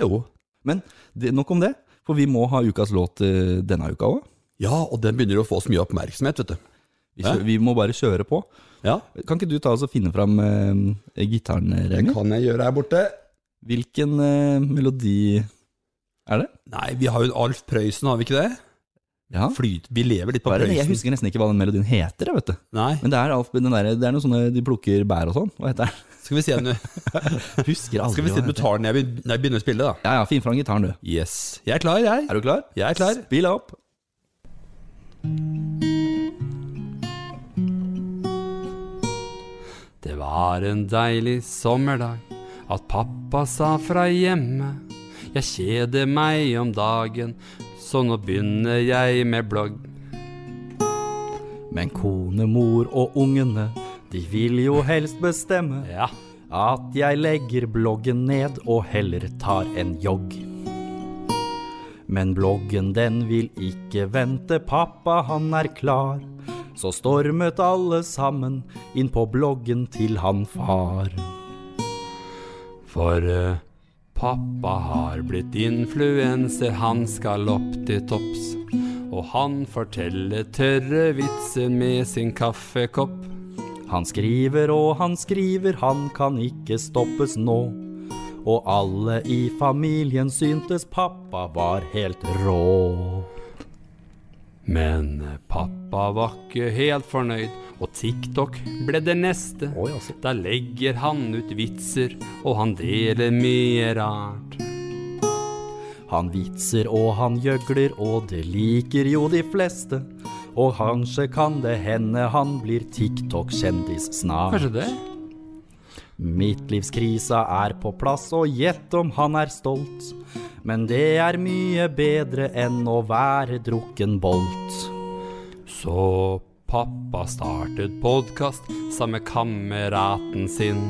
[SPEAKER 1] Jo.
[SPEAKER 2] Men det, nok om det, for vi må ha ukas låt eh, denne uka òg.
[SPEAKER 1] Ja, og den begynner jo å få så mye oppmerksomhet, vet du.
[SPEAKER 2] Vi, kjø- vi må bare kjøre på.
[SPEAKER 1] Ja.
[SPEAKER 2] Kan ikke du ta oss og finne fram eh, gitaren, Remi?
[SPEAKER 1] kan jeg gjøre her borte.
[SPEAKER 2] Hvilken eh, melodi er det?
[SPEAKER 1] Nei, vi har jo en Alf Prøysen, har vi ikke det?
[SPEAKER 2] Ja.
[SPEAKER 1] Flyt, vi lever litt på
[SPEAKER 2] Hva er det? Jeg
[SPEAKER 1] prøysen.
[SPEAKER 2] husker nesten ikke hva den melodien heter. jeg vet du.
[SPEAKER 1] Nei,
[SPEAKER 2] Men det er, Alf, den der, det er noen sånne de plukker bær og sånn. Hva heter den?
[SPEAKER 1] skal vi se den
[SPEAKER 2] Husker aldri.
[SPEAKER 1] Skal vi
[SPEAKER 2] hva
[SPEAKER 1] se
[SPEAKER 2] den
[SPEAKER 1] den du
[SPEAKER 2] heter.
[SPEAKER 1] tar den når jeg begyn- når jeg begynner å spille, da.
[SPEAKER 2] Ja, ja, Finfrang gitaren, du.
[SPEAKER 1] Yes. Jeg er klar, jeg.
[SPEAKER 2] Er du klar?
[SPEAKER 1] Jeg er klar.
[SPEAKER 2] Spill opp.
[SPEAKER 1] Det var en deilig sommerdag at pappa sa fra hjemme. Jeg kjeder meg om dagen, så nå begynner jeg med blogg.
[SPEAKER 2] Men kone, mor og ungene, de vil jo helst bestemme
[SPEAKER 1] Ja.
[SPEAKER 2] at jeg legger bloggen ned og heller tar en jogg. Men bloggen den vil ikke vente, pappa han er klar. Så stormet alle sammen inn på bloggen til han far.
[SPEAKER 1] For eh, pappa har blitt influenser, han skal opp til topps. Og han forteller tørre vitser med sin kaffekopp.
[SPEAKER 2] Han skriver og han skriver, han kan ikke stoppes nå. Og alle i familien syntes pappa var helt rå.
[SPEAKER 1] Men eh, pappa var ikke helt fornøyd, og TikTok ble det neste.
[SPEAKER 2] Oi, altså.
[SPEAKER 1] Der legger han ut vitser, og han deler mye rart.
[SPEAKER 2] Han vitser og han gjøgler, og det liker jo de fleste. Og kanskje kan det hende han blir TikTok-kjendis snart.
[SPEAKER 1] Kanskje det?
[SPEAKER 2] Midtlivskrisa er på plass, og gjett om han er stolt. Men det er mye bedre enn å være drukken bolt.
[SPEAKER 1] Så pappa startet podkast sammen med kameraten sin.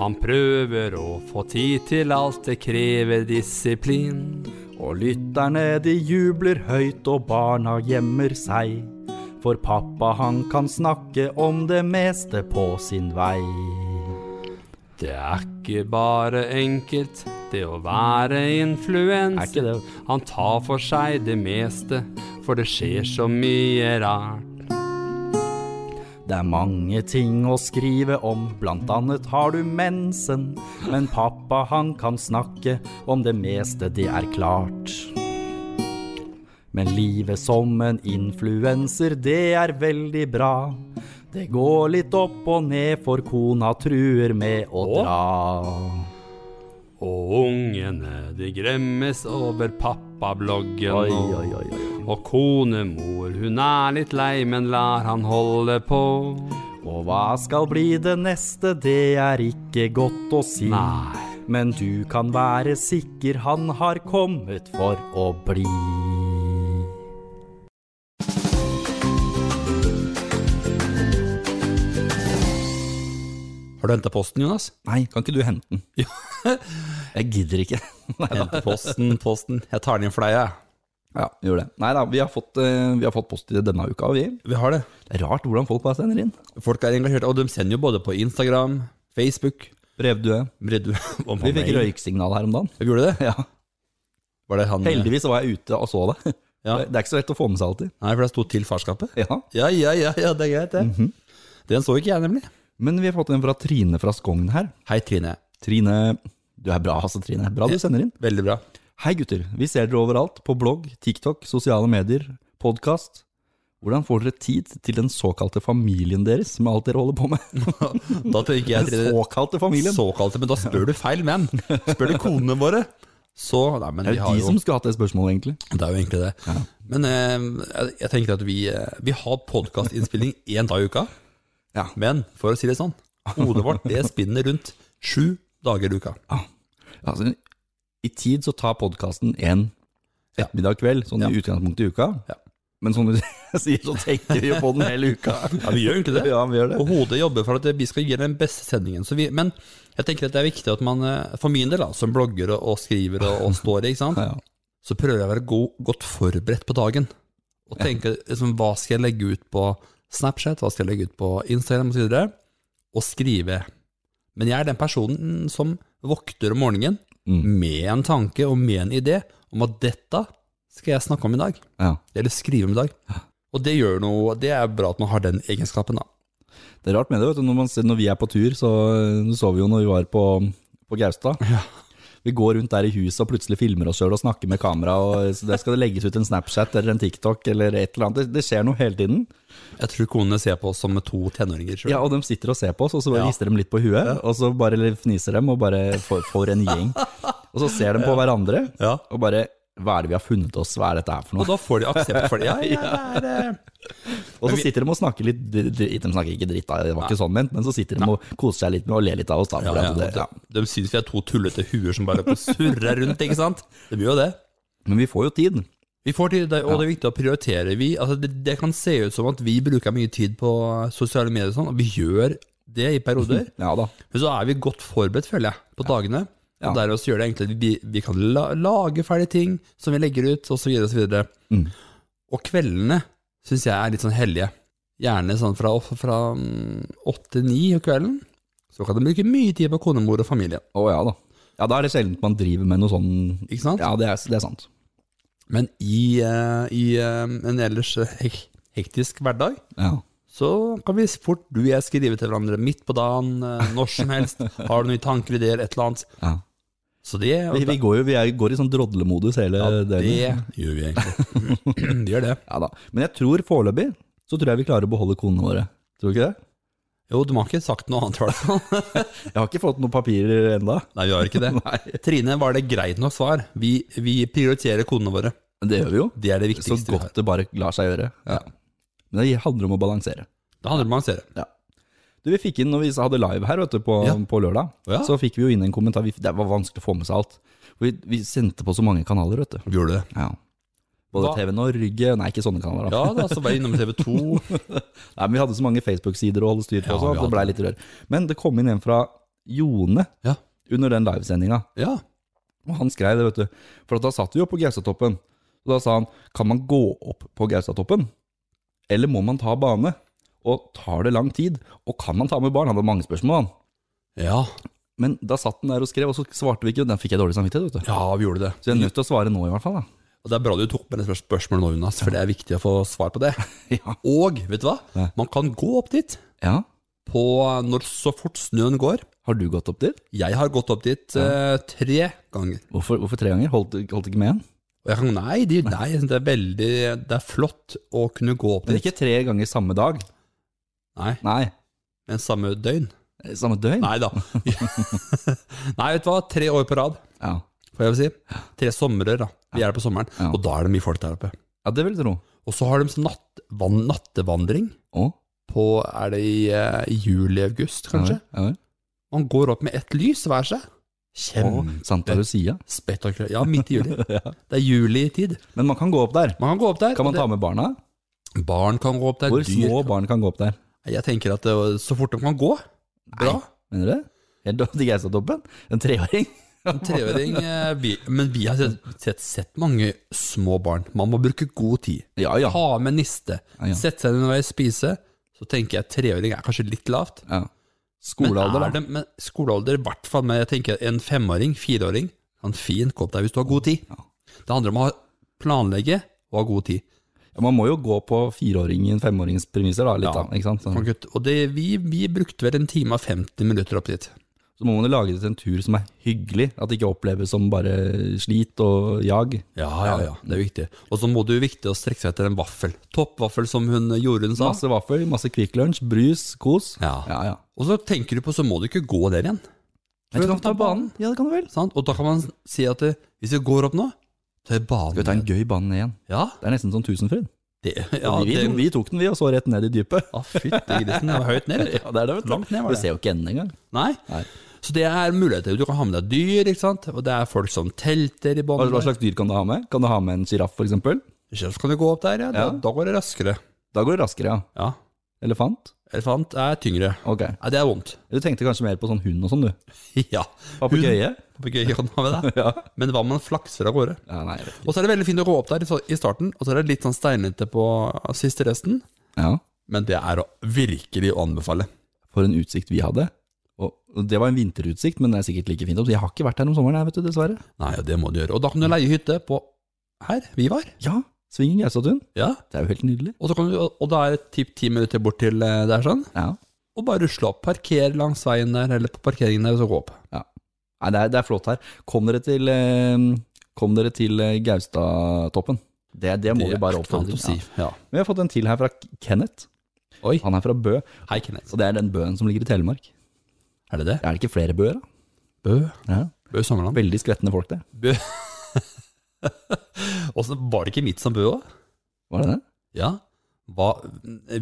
[SPEAKER 1] Han prøver å få tid til alt, det krever disiplin.
[SPEAKER 2] Og lytterne de jubler høyt, og barna gjemmer seg. For pappa han kan snakke om det meste på sin vei.
[SPEAKER 1] Det er ikke bare enkelt, det å være
[SPEAKER 2] Er ikke
[SPEAKER 1] influenser.
[SPEAKER 2] det
[SPEAKER 1] Han tar for seg det meste, for det skjer så mye rart.
[SPEAKER 2] Det er mange ting å skrive om, blant annet har du mensen. Men pappa han kan snakke om det meste, det er klart. Men livet som en influenser, det er veldig bra. Det går litt opp og ned, for kona truer med å
[SPEAKER 1] Å?
[SPEAKER 2] dra.
[SPEAKER 1] Og ungene, de gremmes over pappabloggen
[SPEAKER 2] Oi,
[SPEAKER 1] nå.
[SPEAKER 2] oi, oi, oi.
[SPEAKER 1] Og konemor, hun er litt lei, men lar han holde på.
[SPEAKER 2] Og hva skal bli det neste, det er ikke godt å si.
[SPEAKER 1] Nei.
[SPEAKER 2] Men du kan være sikker, han har kommet for å bli.
[SPEAKER 1] Har du henta posten, Jonas?
[SPEAKER 2] Nei, kan ikke du hente den? Jeg gidder ikke. Nei da.
[SPEAKER 1] Hente posten, posten. Jeg tar den inn for deg, jeg.
[SPEAKER 2] Ja, gjør det. Nei da, vi har fått, eh, vi har fått post i det denne uka, vi.
[SPEAKER 1] Vi har det.
[SPEAKER 2] Det er rart hvordan folk bare sender inn.
[SPEAKER 1] Folk er engasjerte, og de sender jo både på Instagram, Facebook
[SPEAKER 2] Brevdue.
[SPEAKER 1] Breddu
[SPEAKER 2] Vi fikk røyksignal her om dagen.
[SPEAKER 1] Vi gjorde det?
[SPEAKER 2] Ja.
[SPEAKER 1] Var det han
[SPEAKER 2] Heldigvis så var jeg ute og så det.
[SPEAKER 1] Ja.
[SPEAKER 2] Det er ikke så lett å få med seg alltid.
[SPEAKER 1] Nei, for det sto til farskapet?
[SPEAKER 2] Ja.
[SPEAKER 1] Ja, ja, ja, ja det er greit, det.
[SPEAKER 2] Mhm.
[SPEAKER 1] Den så ikke jeg, nemlig.
[SPEAKER 2] Men vi har fått en fra Trine fra Skogn her.
[SPEAKER 1] Hei, Trine.
[SPEAKER 2] Trine, du er bra, altså, Trine. Bra du sender inn.
[SPEAKER 1] Veldig bra.
[SPEAKER 2] Hei gutter, vi ser dere overalt, på blogg, TikTok, sosiale medier, podkast. Hvordan får dere tid til den såkalte familien deres, med alt dere holder på med?
[SPEAKER 1] Da tenker jeg,
[SPEAKER 2] Den
[SPEAKER 1] Trine
[SPEAKER 2] såkalte familien?
[SPEAKER 1] Såkalte, men da spør du feil menn. Spør du konene våre, så Nei, men
[SPEAKER 2] det
[SPEAKER 1] vi
[SPEAKER 2] er jo
[SPEAKER 1] har
[SPEAKER 2] de
[SPEAKER 1] jo
[SPEAKER 2] som skulle hatt det spørsmålet, egentlig.
[SPEAKER 1] Det er jo egentlig det. Men eh, jeg, jeg tenker at vi, eh, vi har podkastinnspilling én dag i uka.
[SPEAKER 2] Ja.
[SPEAKER 1] Men for å si det sånn, hodet vårt det spinner rundt sju dager i uka.
[SPEAKER 2] Altså, I tid så tar podkasten en
[SPEAKER 1] Ja.
[SPEAKER 2] ettermiddag kveld, sånn i utgangspunktet i uka.
[SPEAKER 1] Ja.
[SPEAKER 2] Men som du sier, så tenker vi jo på den hele uka.
[SPEAKER 1] Ja, vi gjør egentlig det.
[SPEAKER 2] Ja, vi gjør det.
[SPEAKER 1] Og hodet jobber for at vi skal gi den beste sendingen. Så vi, men jeg tenker at det er viktig at man, eh, for min del, da, som blogger og, og skriver og, og står i, ikke sant?
[SPEAKER 2] Ja, ja.
[SPEAKER 1] så prøver jeg å være god, godt forberedt på dagen. Og tenke liksom, hva skal jeg legge ut på Snapchat, hva skal jeg legge ut på Instagram osv. Og, så videre, og skrive. Men jeg er den personen som vokter om morgenen
[SPEAKER 2] Mm.
[SPEAKER 1] med en tanke og med en idé om at dette skal jeg snakke om i dag.
[SPEAKER 2] ja.
[SPEAKER 1] Eller skrive om i dag. Og det gjør noe, det er bra at man har den egenskapen, da.
[SPEAKER 2] Det er rart eh, med det, vet du. Når, man, ser- når vi er på tur, så, så vi jo når vi var på, på Gaustad. Vi går rundt der i huset og plutselig filmer oss sjøl og snakker med kamera, og så der skal det legges ut en Snapchat eller en TikTok eller et eller annet. Det, det skjer noe hele tiden.
[SPEAKER 1] Jeg tror konene ser på oss som to tenåringer. tror jeg.
[SPEAKER 2] Ja, og de sitter og ser på oss, og så bare
[SPEAKER 1] Ja.
[SPEAKER 2] rister de litt på huet, og så bare fniser de, og bare for, for en gjeng. Og så ser de på hverandre,
[SPEAKER 1] Ja.
[SPEAKER 2] og bare Hva er det vi har funnet oss, hva er dette her for
[SPEAKER 1] Og
[SPEAKER 2] noe?
[SPEAKER 1] da får de aksept for det. Ja, ja, det er, eh,
[SPEAKER 2] Og så sitter de og snakker litt dri- dri- De snakker ikke dritt, da, det var ikke sånn ment, men så sitter de og koser seg litt med å le litt av oss, da.
[SPEAKER 1] ja,
[SPEAKER 2] fordi
[SPEAKER 1] ja,
[SPEAKER 2] at det, ja.
[SPEAKER 1] De, de syns vi er to tullete huer som bare surrer rundt, ikke sant? Det blir jo det.
[SPEAKER 2] Men vi får jo tid.
[SPEAKER 1] Vi får tid, det- og det er viktig å prioritere. Vi, altså det, det kan se ut som at vi bruker mye tid på sosiale medier, og sånn, og vi gjør det i perioder.
[SPEAKER 2] Ja da.
[SPEAKER 1] Men så er vi godt forberedt, føler jeg, på dagene. Og
[SPEAKER 2] Ja.
[SPEAKER 1] dermed så gjør det egentlig at vi, vi kan la, lage ferdige ting som vi legger ut, osv. Og, så videre.
[SPEAKER 2] Mm.
[SPEAKER 1] og kveldene syns jeg er litt sånn hellige. Gjerne sånn fra, fra mm, åtte til ni om kvelden. Så kan du bruke mye tid på konemor og familien.
[SPEAKER 2] Å ja da. Ja, da er det sjelden man driver med noe sånn
[SPEAKER 1] Ikke sant?
[SPEAKER 2] Ja, det er, det er sant.
[SPEAKER 1] Men i, eh, i eh, en ellers hek, hektisk hverdag
[SPEAKER 2] Ja.
[SPEAKER 1] så kan vi fort du og jeg skrive til hverandre midt på dagen, eh, når som helst. Har du noen tanker, ideer, et eller annet.
[SPEAKER 2] ja.
[SPEAKER 1] Så det,
[SPEAKER 2] Vi, vi går jo vi er, går i sånn drodlemodus hele
[SPEAKER 1] Eh, det
[SPEAKER 2] døgnet.
[SPEAKER 1] gjør vi egentlig. Vi gjør det.
[SPEAKER 2] Ja da. Men jeg tror foreløpig så tror jeg vi klarer å beholde konene våre. Tror du ikke det?
[SPEAKER 1] Jo, du har ikke sagt noe annet i hvert fall.
[SPEAKER 2] Jeg har ikke fått noen papirer ennå.
[SPEAKER 1] Nei, vi har ikke det. Trine, var det greit nok svar? Vi, vi prioriterer konene våre.
[SPEAKER 2] Men det gjør vi jo.
[SPEAKER 1] Det er det
[SPEAKER 2] Så
[SPEAKER 1] viktigste vi har.
[SPEAKER 2] godt det bare lar seg gjøre. Ja. Men det handler om å balansere.
[SPEAKER 1] Det handler om å avansere.
[SPEAKER 2] Ja. Du, vi fikk inn, når vi hadde live her vet du, på,
[SPEAKER 1] Ja.
[SPEAKER 2] på lørdag,
[SPEAKER 1] Ja.
[SPEAKER 2] så fikk vi jo inn en kommentar. Vi, det var vanskelig å få med seg alt. Vi, vi sendte på så mange kanaler, vet du.
[SPEAKER 1] Vi gjorde det.
[SPEAKER 2] Ja. Både
[SPEAKER 1] Hva-
[SPEAKER 2] TV Norge Nei, ikke sånne kanaler. da.
[SPEAKER 1] Ja, da, så var jeg innom TV 2.
[SPEAKER 2] Nei, men Vi hadde så mange Facebook-sider å holde styr på,
[SPEAKER 1] Ja,
[SPEAKER 2] også,
[SPEAKER 1] vi
[SPEAKER 2] at det
[SPEAKER 1] hadde
[SPEAKER 2] ble litt rør. Men det kom inn en fra Jone
[SPEAKER 1] Ja.
[SPEAKER 2] under den livesendinga.
[SPEAKER 1] Ja.
[SPEAKER 2] Og han skrev det, vet du. For at da satt vi jo på Gaustatoppen. Og da sa han kan man gå opp på Gaustatoppen, eller må man ta bane? Og tar det lang tid? Og kan man ta med barn? Han hadde mange spørsmål, han.
[SPEAKER 1] ja.
[SPEAKER 2] Men da satt den der og skrev, og så svarte vi ikke. og Den fikk jeg dårlig samvittighet, vet du.
[SPEAKER 1] Ja, vi gjorde det.
[SPEAKER 2] Så jeg er nødt til å svare nå, i hvert fall. da.
[SPEAKER 1] Og Det er bra du tok med det spør- spørsmålet nå, Jonas, for det er viktig å få svar på det.
[SPEAKER 2] Ja.
[SPEAKER 1] Og, vet du hva?
[SPEAKER 2] Nei.
[SPEAKER 1] Man kan gå opp dit
[SPEAKER 2] ja.
[SPEAKER 1] på når så fort snøen går.
[SPEAKER 2] Har du gått opp dit?
[SPEAKER 1] Jeg har gått opp dit eh, tre ganger.
[SPEAKER 2] Hvorfor, hvorfor tre ganger? Holdt, holdt ikke med en?
[SPEAKER 1] Og jeg kan, nei, de, nei, jeg synes det er veldig Det er flott å kunne gå opp
[SPEAKER 2] Men
[SPEAKER 1] dit.
[SPEAKER 2] ikke tre ganger samme dag.
[SPEAKER 1] Nei,
[SPEAKER 2] Nei, Eh,
[SPEAKER 1] men samme døgn.
[SPEAKER 2] samme døgn.
[SPEAKER 1] Nei da. Nei, vet du hva. Tre år på rad,
[SPEAKER 2] Ja.
[SPEAKER 1] får jeg vel si. Tre somrer, da. Vi er der på sommeren.
[SPEAKER 2] Ja.
[SPEAKER 1] Og da er det mye folk der oppe.
[SPEAKER 2] ja, det vil jeg tro.
[SPEAKER 1] Og så har de sånn natt, van, nattevandring
[SPEAKER 2] Å?
[SPEAKER 1] på Er det i eh, juli-august,
[SPEAKER 2] Ja,
[SPEAKER 1] kanskje?
[SPEAKER 2] vel, ja. vel.
[SPEAKER 1] Man går opp med ett lys hver seg.
[SPEAKER 2] Og Santa Lucia.
[SPEAKER 1] Kjempespektakulært. Ja, midt i juli.
[SPEAKER 2] Ja.
[SPEAKER 1] Det er julitid.
[SPEAKER 2] Men man kan gå opp der.
[SPEAKER 1] Man kan gå opp der.
[SPEAKER 2] Kan man ta med barna?
[SPEAKER 1] det, barn kan gå opp der.
[SPEAKER 2] Hvor
[SPEAKER 1] dyr
[SPEAKER 2] små
[SPEAKER 1] kan-
[SPEAKER 2] barn kan gå opp der?
[SPEAKER 1] Jeg tenker at det, så fort de kan gå, bra.
[SPEAKER 2] Mener du det? Helt opp til Geistatoppen? En treåring?
[SPEAKER 1] En treåring eh, vi, Men vi har sett, sett, sett mange små barn. Man må bruke god tid.
[SPEAKER 2] Ja, ja.
[SPEAKER 1] Ta med niste.
[SPEAKER 2] Ja, ja.
[SPEAKER 1] Sette seg ned og spise. Så tenker jeg treåring er kanskje litt lavt.
[SPEAKER 2] ja.
[SPEAKER 1] Men,
[SPEAKER 2] Skolealder, da.
[SPEAKER 1] er det, men skolealder, i hvert fall med jeg tenker en femåring, fireåring, kan fint gå opp der hvis du har god tid. Det handler om å ha- planlegge og ha god tid.
[SPEAKER 2] Ja, man må jo gå på fireåringen, femåringens premisser, da. Litt,
[SPEAKER 1] Ja.
[SPEAKER 2] da. Ikke sant? Sånn.
[SPEAKER 1] Man
[SPEAKER 2] Så,
[SPEAKER 1] kutt- Og det, vi, vi brukte vel en time og 50 minutter opp dit.
[SPEAKER 2] så må man jo lage det til en tur som er hyggelig. At det ikke oppleves som bare slit og jag.
[SPEAKER 1] Ja, ja, ja, det er viktig. Og så må det jo viktig å strekke seg etter en vaffel. Toppvaffel, som hun Jorunn sa.
[SPEAKER 2] Masse vaffel, masse Kvikk Lunsj, brus, kos.
[SPEAKER 1] Ja.
[SPEAKER 2] ja. ja.
[SPEAKER 1] Og så tenker du på, så må du ikke gå der igjen.
[SPEAKER 2] Men du kan ta banen. Ja, det kan du vel.
[SPEAKER 1] Sant? Og da kan man si at eh, hvis vi går opp nå, ta banen.
[SPEAKER 2] Skal vi ta en gøy bane ned igjen?
[SPEAKER 1] Ja,
[SPEAKER 2] Det er nesten sånn Tusenfryd.
[SPEAKER 1] det, ja,
[SPEAKER 2] vi,
[SPEAKER 1] det,
[SPEAKER 2] vi tok den, vi, og så rett ned i dypet.
[SPEAKER 1] ah, fytti grisen, det var høyt ned, vet du.
[SPEAKER 2] Ja, det er det, vet du.
[SPEAKER 1] Langt ned var
[SPEAKER 2] Du
[SPEAKER 1] det.
[SPEAKER 2] ser jo ikke enden engang.
[SPEAKER 1] Nei.
[SPEAKER 2] Nei.
[SPEAKER 1] Så det er muligheter. Du kan ha med deg dyr, ikke sant? og det er folk som telter i
[SPEAKER 2] Hva hva
[SPEAKER 1] bånn.
[SPEAKER 2] slags dyr kan du ha med? Kan du ha med en sjiraff, f.eks.?
[SPEAKER 1] Så kan du gå opp der, ja.
[SPEAKER 2] Ja.
[SPEAKER 1] Da, da går det raskere.
[SPEAKER 2] Da går det raskere, ja.
[SPEAKER 1] Ja.
[SPEAKER 2] Elefant?
[SPEAKER 1] Elefant er tyngre.
[SPEAKER 2] Ok.
[SPEAKER 1] Nei, det er vondt.
[SPEAKER 2] Du tenkte kanskje mer på sånn hund og sånn, du.
[SPEAKER 1] Ja.
[SPEAKER 2] Papegøye?
[SPEAKER 1] Papegøye kan ha med deg.
[SPEAKER 2] Ja.
[SPEAKER 1] Men hva om man flakser av gårde?
[SPEAKER 2] ja. Nei, jeg vet ikke.
[SPEAKER 1] Og så er det veldig fint å gå opp der i så- i starten, og så er det litt sånn steinete på siste resten.
[SPEAKER 2] Ja.
[SPEAKER 1] Men det er å virkelig å anbefale.
[SPEAKER 2] For en utsikt vi hadde. Og og det var en vinterutsikt, men det er sikkert like fint. Jeg har ikke vært her om sommeren, her, vet du, dessverre.
[SPEAKER 1] Nei, og det må du gjøre. Og da kan du leie hytte på her vi var.
[SPEAKER 2] Ja. Svingen Gaustatun.
[SPEAKER 1] Ja.
[SPEAKER 2] Det er jo helt nydelig.
[SPEAKER 1] Og, så kan du, og da er det typ ti minutter bort til eh, der sånn.
[SPEAKER 2] Ja.
[SPEAKER 1] Og bare rusle opp. Parker langs veien der, eller på parkeringen der, og så gå opp.
[SPEAKER 2] Ja. Nei, det er, det er flott her. Kom dere til, eh, kom dere til eh, Gaustatoppen. Det, det må vi bare oppfordre
[SPEAKER 1] til å si.
[SPEAKER 2] til. Ja.
[SPEAKER 1] Ja.
[SPEAKER 2] Men vi har fått en til her fra Kenneth.
[SPEAKER 1] Oi.
[SPEAKER 2] Han er fra Bø,
[SPEAKER 1] Hei, Kenneth.
[SPEAKER 2] så det er den Bøen som ligger i Telemark.
[SPEAKER 1] Er det det?
[SPEAKER 2] Er det ikke flere Bøer, da?
[SPEAKER 1] Bø.
[SPEAKER 2] Ja.
[SPEAKER 1] Bø Songerland.
[SPEAKER 2] Veldig skvettende folk, det.
[SPEAKER 1] Bø. Også, var det ikke mitt som Bø òg?
[SPEAKER 2] Var det det?
[SPEAKER 1] Ja. Hva,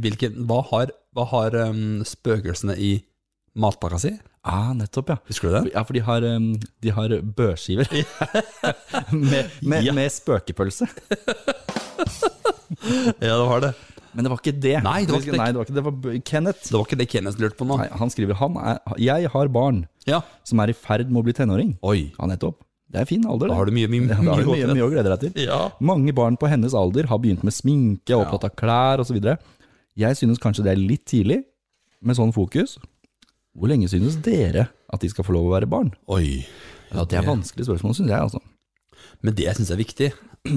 [SPEAKER 1] hvilke, hva har, hva har um, spøkelsene i matpakka si?
[SPEAKER 2] Ah, nettopp, ja.
[SPEAKER 1] Husker du den?
[SPEAKER 2] Ja, for de har, um, de har børskiver. med, med,
[SPEAKER 1] Ja.
[SPEAKER 2] med spøkepølse.
[SPEAKER 1] Ja, det var det.
[SPEAKER 2] Men det var ikke det.
[SPEAKER 1] Nei, det var ikke det.
[SPEAKER 2] Nei, det var ikke det. var B- Kenneth.
[SPEAKER 1] Det var ikke det Kenneth lurte på nå.
[SPEAKER 2] Nei, han skriver han er, Jeg har barn
[SPEAKER 1] Ja.
[SPEAKER 2] som er i ferd med å bli tenåring.
[SPEAKER 1] Oi.
[SPEAKER 2] Ja, nettopp. Det er fin alder, det.
[SPEAKER 1] Da har du mye, mye,
[SPEAKER 2] Ja, da har du mye,
[SPEAKER 1] mye,
[SPEAKER 2] mye å glede deg til.
[SPEAKER 1] Ja.
[SPEAKER 2] Mange barn på hennes alder har begynt med sminke, er opptatt av klær osv. Jeg synes kanskje det er litt tidlig med sånn fokus. Hvor lenge synes dere at de skal få lov å være barn?
[SPEAKER 1] Oi.
[SPEAKER 2] Ja, Det er vanskelige spørsmål, synes jeg. altså.
[SPEAKER 1] Men det syns jeg er viktig.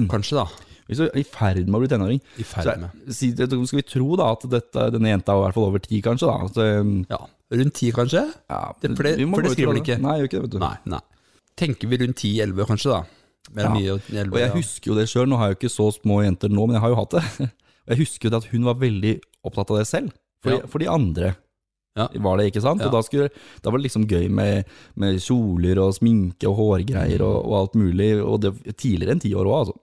[SPEAKER 1] Kanskje, da.
[SPEAKER 2] Hvis du er i ferd med å bli tenåring,
[SPEAKER 1] I
[SPEAKER 2] så
[SPEAKER 1] ferd
[SPEAKER 2] er,
[SPEAKER 1] med.
[SPEAKER 2] si, skal vi tro da at dette, denne jenta er i hvert fall over ti, kanskje? da? At, um,
[SPEAKER 1] Ja. Rundt ti, kanskje?
[SPEAKER 2] ja,
[SPEAKER 1] Det- for det-
[SPEAKER 2] vi må
[SPEAKER 1] for det
[SPEAKER 2] gå ut fra
[SPEAKER 1] skriver de ikke.
[SPEAKER 2] Nei, gjør ikke det, vet du.
[SPEAKER 1] Nei. nei. Tenker vi rundt ti-elleve, kanskje, da.
[SPEAKER 2] Ja.
[SPEAKER 1] Mellom ja. mye og
[SPEAKER 2] Og jeg
[SPEAKER 1] elleve.
[SPEAKER 2] husker jo det sjøl, nå har jeg jo ikke så små jenter nå, men jeg har jo hatt det. Og jeg husker jo det at hun var veldig opptatt av det selv, for,
[SPEAKER 1] Ja.
[SPEAKER 2] for de andre.
[SPEAKER 1] Ja.
[SPEAKER 2] Var det, ikke sant?
[SPEAKER 1] Ja.
[SPEAKER 2] Og da, skulle, da var det liksom gøy med, med kjoler og sminke og hårgreier og, og alt mulig, og det tidligere enn ti år òg, altså.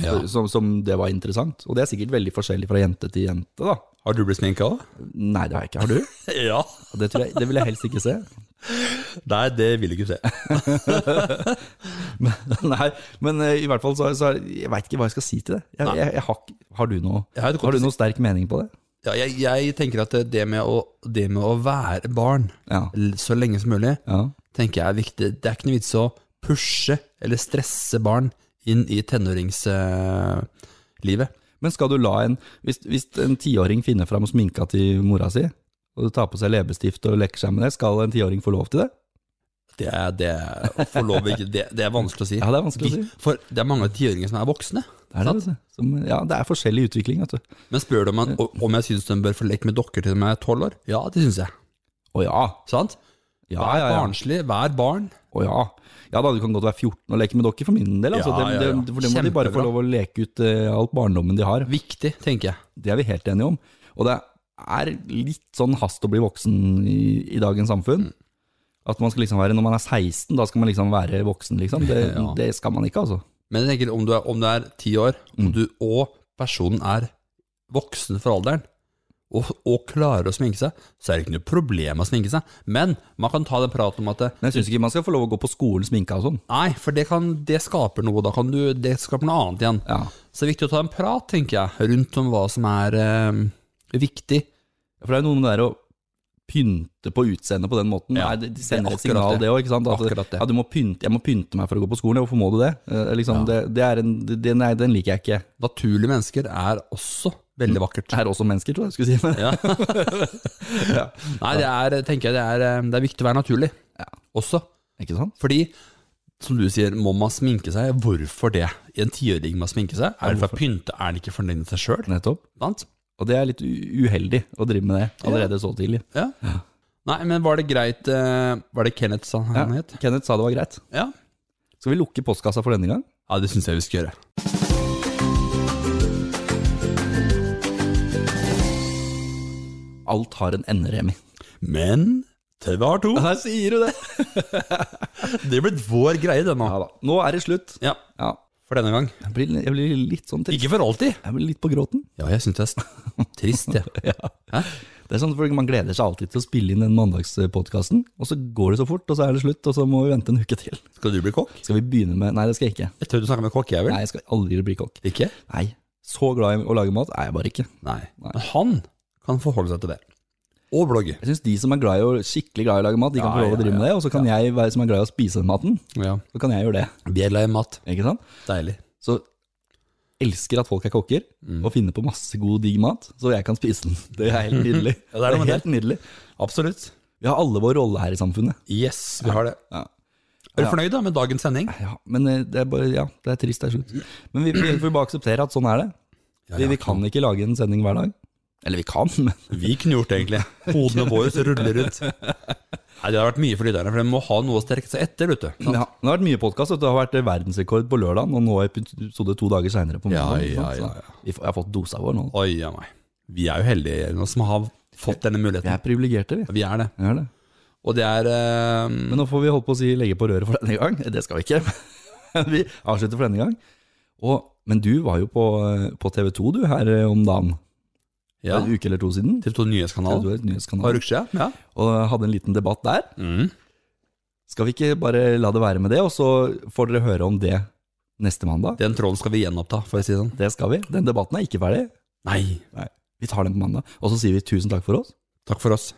[SPEAKER 1] Ja.
[SPEAKER 2] Som, som det var interessant. Og det er sikkert veldig forskjellig fra jente til jente, da.
[SPEAKER 1] Har du blitt sminka òg?
[SPEAKER 2] Nei, det har jeg ikke. Har du?
[SPEAKER 1] Ja.
[SPEAKER 2] Det, tror jeg, det vil jeg helst ikke se.
[SPEAKER 1] Nei, det vil du ikke se.
[SPEAKER 2] Nei, men eh, i hvert fall så, så er- Jeg veit ikke hva jeg skal si til det. Jeg,
[SPEAKER 1] Nei.
[SPEAKER 2] jeg, jeg har, ikke- har du noe,
[SPEAKER 1] Jeg har et godt
[SPEAKER 2] har
[SPEAKER 1] å
[SPEAKER 2] du noe sterk mening på det?
[SPEAKER 1] Ja, jeg, jeg tenker at det med, å, det med å være barn
[SPEAKER 2] Ja.
[SPEAKER 1] l- så lenge som mulig,
[SPEAKER 2] ja.
[SPEAKER 1] tenker jeg er viktig. Det er ikke noe vits å pushe eller stresse barn inn i tenåringslivet.
[SPEAKER 2] Men skal du la en Hvis, hvis en tiåring finner fram sminka til mora si, og du tar på seg leppestift og leker seg med det, skal en tiåring få lov til det?
[SPEAKER 1] Det er, det, er- for lov, ikke, det, det er vanskelig å si.
[SPEAKER 2] Ja, det er vanskelig å si.
[SPEAKER 1] Vi- For det er mange tiåringer som er voksne.
[SPEAKER 2] Det er, det,
[SPEAKER 1] sant?
[SPEAKER 2] altså. som, ja, det er forskjellig utvikling, vet du.
[SPEAKER 1] Men spør du om, han- om jeg syns de bør få leke med dokker til de er tolv år? Ja, det syns jeg.
[SPEAKER 2] Å ja.
[SPEAKER 1] Sant?
[SPEAKER 2] Ja,
[SPEAKER 1] Vær
[SPEAKER 2] ja, ja.
[SPEAKER 1] barnslig, vær barn.
[SPEAKER 2] Å ja. Ja da, du kan godt være 14 og leke med dokker for min del. Altså.
[SPEAKER 1] Ja,
[SPEAKER 2] Det-
[SPEAKER 1] ja,
[SPEAKER 2] det-
[SPEAKER 1] ja.
[SPEAKER 2] For det må de bare få
[SPEAKER 1] Kjempebra.
[SPEAKER 2] lov å leke ut eh, alt barndommen de har.
[SPEAKER 1] Viktig, tenker jeg.
[SPEAKER 2] Det er vi helt enige om. Og det er litt sånn hast å bli voksen i, i dagens samfunn.
[SPEAKER 1] Mm.
[SPEAKER 2] At man skal liksom være, Når man er 16, da skal man liksom være voksen, liksom. Det,
[SPEAKER 1] Ja.
[SPEAKER 2] det skal man ikke, altså.
[SPEAKER 1] Men jeg tenker om du er, om du er 10 år,
[SPEAKER 2] Mm.
[SPEAKER 1] og, du, og personen er voksen for alderen, og, og klarer å sminke seg, så er det ikke noe problem å sminke seg. Men man kan ta den praten om at det-
[SPEAKER 2] Men jeg syns ikke man skal få lov å gå på skolen sminka og sånn.
[SPEAKER 1] nei, for det, kan, det skaper noe, da kan du, det skaper noe annet igjen.
[SPEAKER 2] Ja.
[SPEAKER 1] Så det er viktig å ta en prat, tenker jeg, rundt om hva som er eh, viktig.
[SPEAKER 2] For det er jo noe med det der å pynte på utseendet på den måten.
[SPEAKER 1] Ja,
[SPEAKER 2] Nei, de- de sender
[SPEAKER 1] det er
[SPEAKER 2] et signal,
[SPEAKER 1] akkurat det.
[SPEAKER 2] det òg. At
[SPEAKER 1] Akkurat det.
[SPEAKER 2] Ja, du må pynte, jeg må pynte meg for å gå på skolen. ja, Hvorfor må du det? Eh, Liksom, det, det er en, det, nei, den liker jeg ikke.
[SPEAKER 1] Naturlige mennesker er også veldig vakkert.
[SPEAKER 2] Det er også mennesker, tror jeg jeg skulle si. Men,
[SPEAKER 1] Ja.
[SPEAKER 2] ja.
[SPEAKER 1] Nei, det er, tenker jeg, det er, eh, det er viktig å være naturlig også.
[SPEAKER 2] Ikke sant?
[SPEAKER 1] Fordi, som du sier, må man sminke seg? Hvorfor det? I en tiåring må man sminke seg? Er det for å pynte? Er han ikke fornøyd med seg sjøl?
[SPEAKER 2] Nettopp. Og det er litt u- uheldig å drive med det allerede så tidlig.
[SPEAKER 1] Ja. Nei, men var det greit eh, Var det Kenneth sa han het?
[SPEAKER 2] Kenneth sa det var greit.
[SPEAKER 1] Ja.
[SPEAKER 2] Skal vi lukke postkassa for denne gang?
[SPEAKER 1] ja, det syns jeg vi skal gjøre.
[SPEAKER 2] Alt har en ende, Remi.
[SPEAKER 1] Men TV har to.
[SPEAKER 2] Der sier du det!
[SPEAKER 1] Det er blitt vår greie, det nå.
[SPEAKER 2] Ja da. Nå er det slutt.
[SPEAKER 1] Ja,
[SPEAKER 2] Ja.
[SPEAKER 1] for denne gang.
[SPEAKER 2] Jeg blir, jeg blir litt sånn trist.
[SPEAKER 1] Ikke for alltid.
[SPEAKER 2] Jeg blir litt på gråten.
[SPEAKER 1] Ja, jeg syns det er s- trist, jeg. Hæ?
[SPEAKER 2] Det er sånn for Man gleder seg alltid til å spille inn den mandagspodkasten, og så går det så fort, og så er det slutt, og så må vi vente en uke til.
[SPEAKER 1] Skal du bli kokk?
[SPEAKER 2] Skal vi begynne med Nei, det skal jeg ikke.
[SPEAKER 1] Jeg tør du snakker med kokk, jeg vel?
[SPEAKER 2] Nei, jeg skal aldri bli kokk.
[SPEAKER 1] Ikke?
[SPEAKER 2] Nei. Så glad i å lage mat er jeg bare ikke.
[SPEAKER 1] Nei. Men han kan forholde seg til det. Og blogge.
[SPEAKER 2] Jeg syns de som er glad i å, skikkelig glad i å lage mat, de kan
[SPEAKER 1] Ja,
[SPEAKER 2] få lov å
[SPEAKER 1] ja,
[SPEAKER 2] drive med det, og så kan jeg være som er glad i å spise den maten,
[SPEAKER 1] Ja.
[SPEAKER 2] så kan jeg gjøre det.
[SPEAKER 1] Bjella i mat.
[SPEAKER 2] Ikke sant?
[SPEAKER 1] Deilig.
[SPEAKER 2] Så elsker at folk er kokker
[SPEAKER 1] Mm.
[SPEAKER 2] og finner på masse god, digg mat, så jeg kan spise den. Det er helt nydelig.
[SPEAKER 1] Ja, det er noe med
[SPEAKER 2] helt nydelig.
[SPEAKER 1] Absolutt.
[SPEAKER 2] Vi har alle vår rolle her i samfunnet.
[SPEAKER 1] Yes, vi har det.
[SPEAKER 2] Ja.
[SPEAKER 1] Er du fornøyd da med dagens sending?
[SPEAKER 2] Ja, men eh, det er bare, ja, det er trist det er slutt. Men vi, vi får bare akseptere at sånn er det. Vi, vi kan ikke lage en sending hver dag. Eller vi kan, men
[SPEAKER 1] Vi kunne gjort det, egentlig. Hodene våre ruller rundt. Nei, Det har vært mye for lytterne, for de må ha noe å strekke seg etter. vet du.
[SPEAKER 2] Ja, det har vært mye podkast. Det har vært eh, verdensrekord på lørdag, og nå er episode to dager seinere på
[SPEAKER 1] Ja,
[SPEAKER 2] mandag. ikke
[SPEAKER 1] ja,
[SPEAKER 2] sant?
[SPEAKER 1] ja,
[SPEAKER 2] Så Vi får, jeg har fått dosa vår nå.
[SPEAKER 1] Oi, ja, nei. Vi er jo heldige nå som har fått denne
[SPEAKER 2] Vi
[SPEAKER 1] muligheten.
[SPEAKER 2] er privilegerte, vi.
[SPEAKER 1] Vi er det.
[SPEAKER 2] Vi er det.
[SPEAKER 1] Og det er eh,
[SPEAKER 2] Men nå får vi holdt på å si legge på røret for denne gang. Det skal vi ikke. vi avslutter for denne gang. Og, men du var jo på, på TV 2 du her eh, om dagen.
[SPEAKER 1] ja,
[SPEAKER 2] En uke eller to siden.
[SPEAKER 1] TV 2
[SPEAKER 2] TV
[SPEAKER 1] Nyhetskanal.
[SPEAKER 2] 2 er et
[SPEAKER 1] Har
[SPEAKER 2] nyhetskanal.
[SPEAKER 1] du ikke? Ja.
[SPEAKER 2] Og hadde en liten debatt der.
[SPEAKER 1] Mm.
[SPEAKER 2] Skal vi ikke bare la det være med det, og så får dere høre om det neste mandag?
[SPEAKER 1] Den tråden skal vi gjenoppta, for å si det sånn.
[SPEAKER 2] Det skal vi. Den debatten er ikke ferdig.
[SPEAKER 1] Nei.
[SPEAKER 2] Vi tar den på mandag. Og så sier vi tusen takk for oss.
[SPEAKER 1] Takk for oss.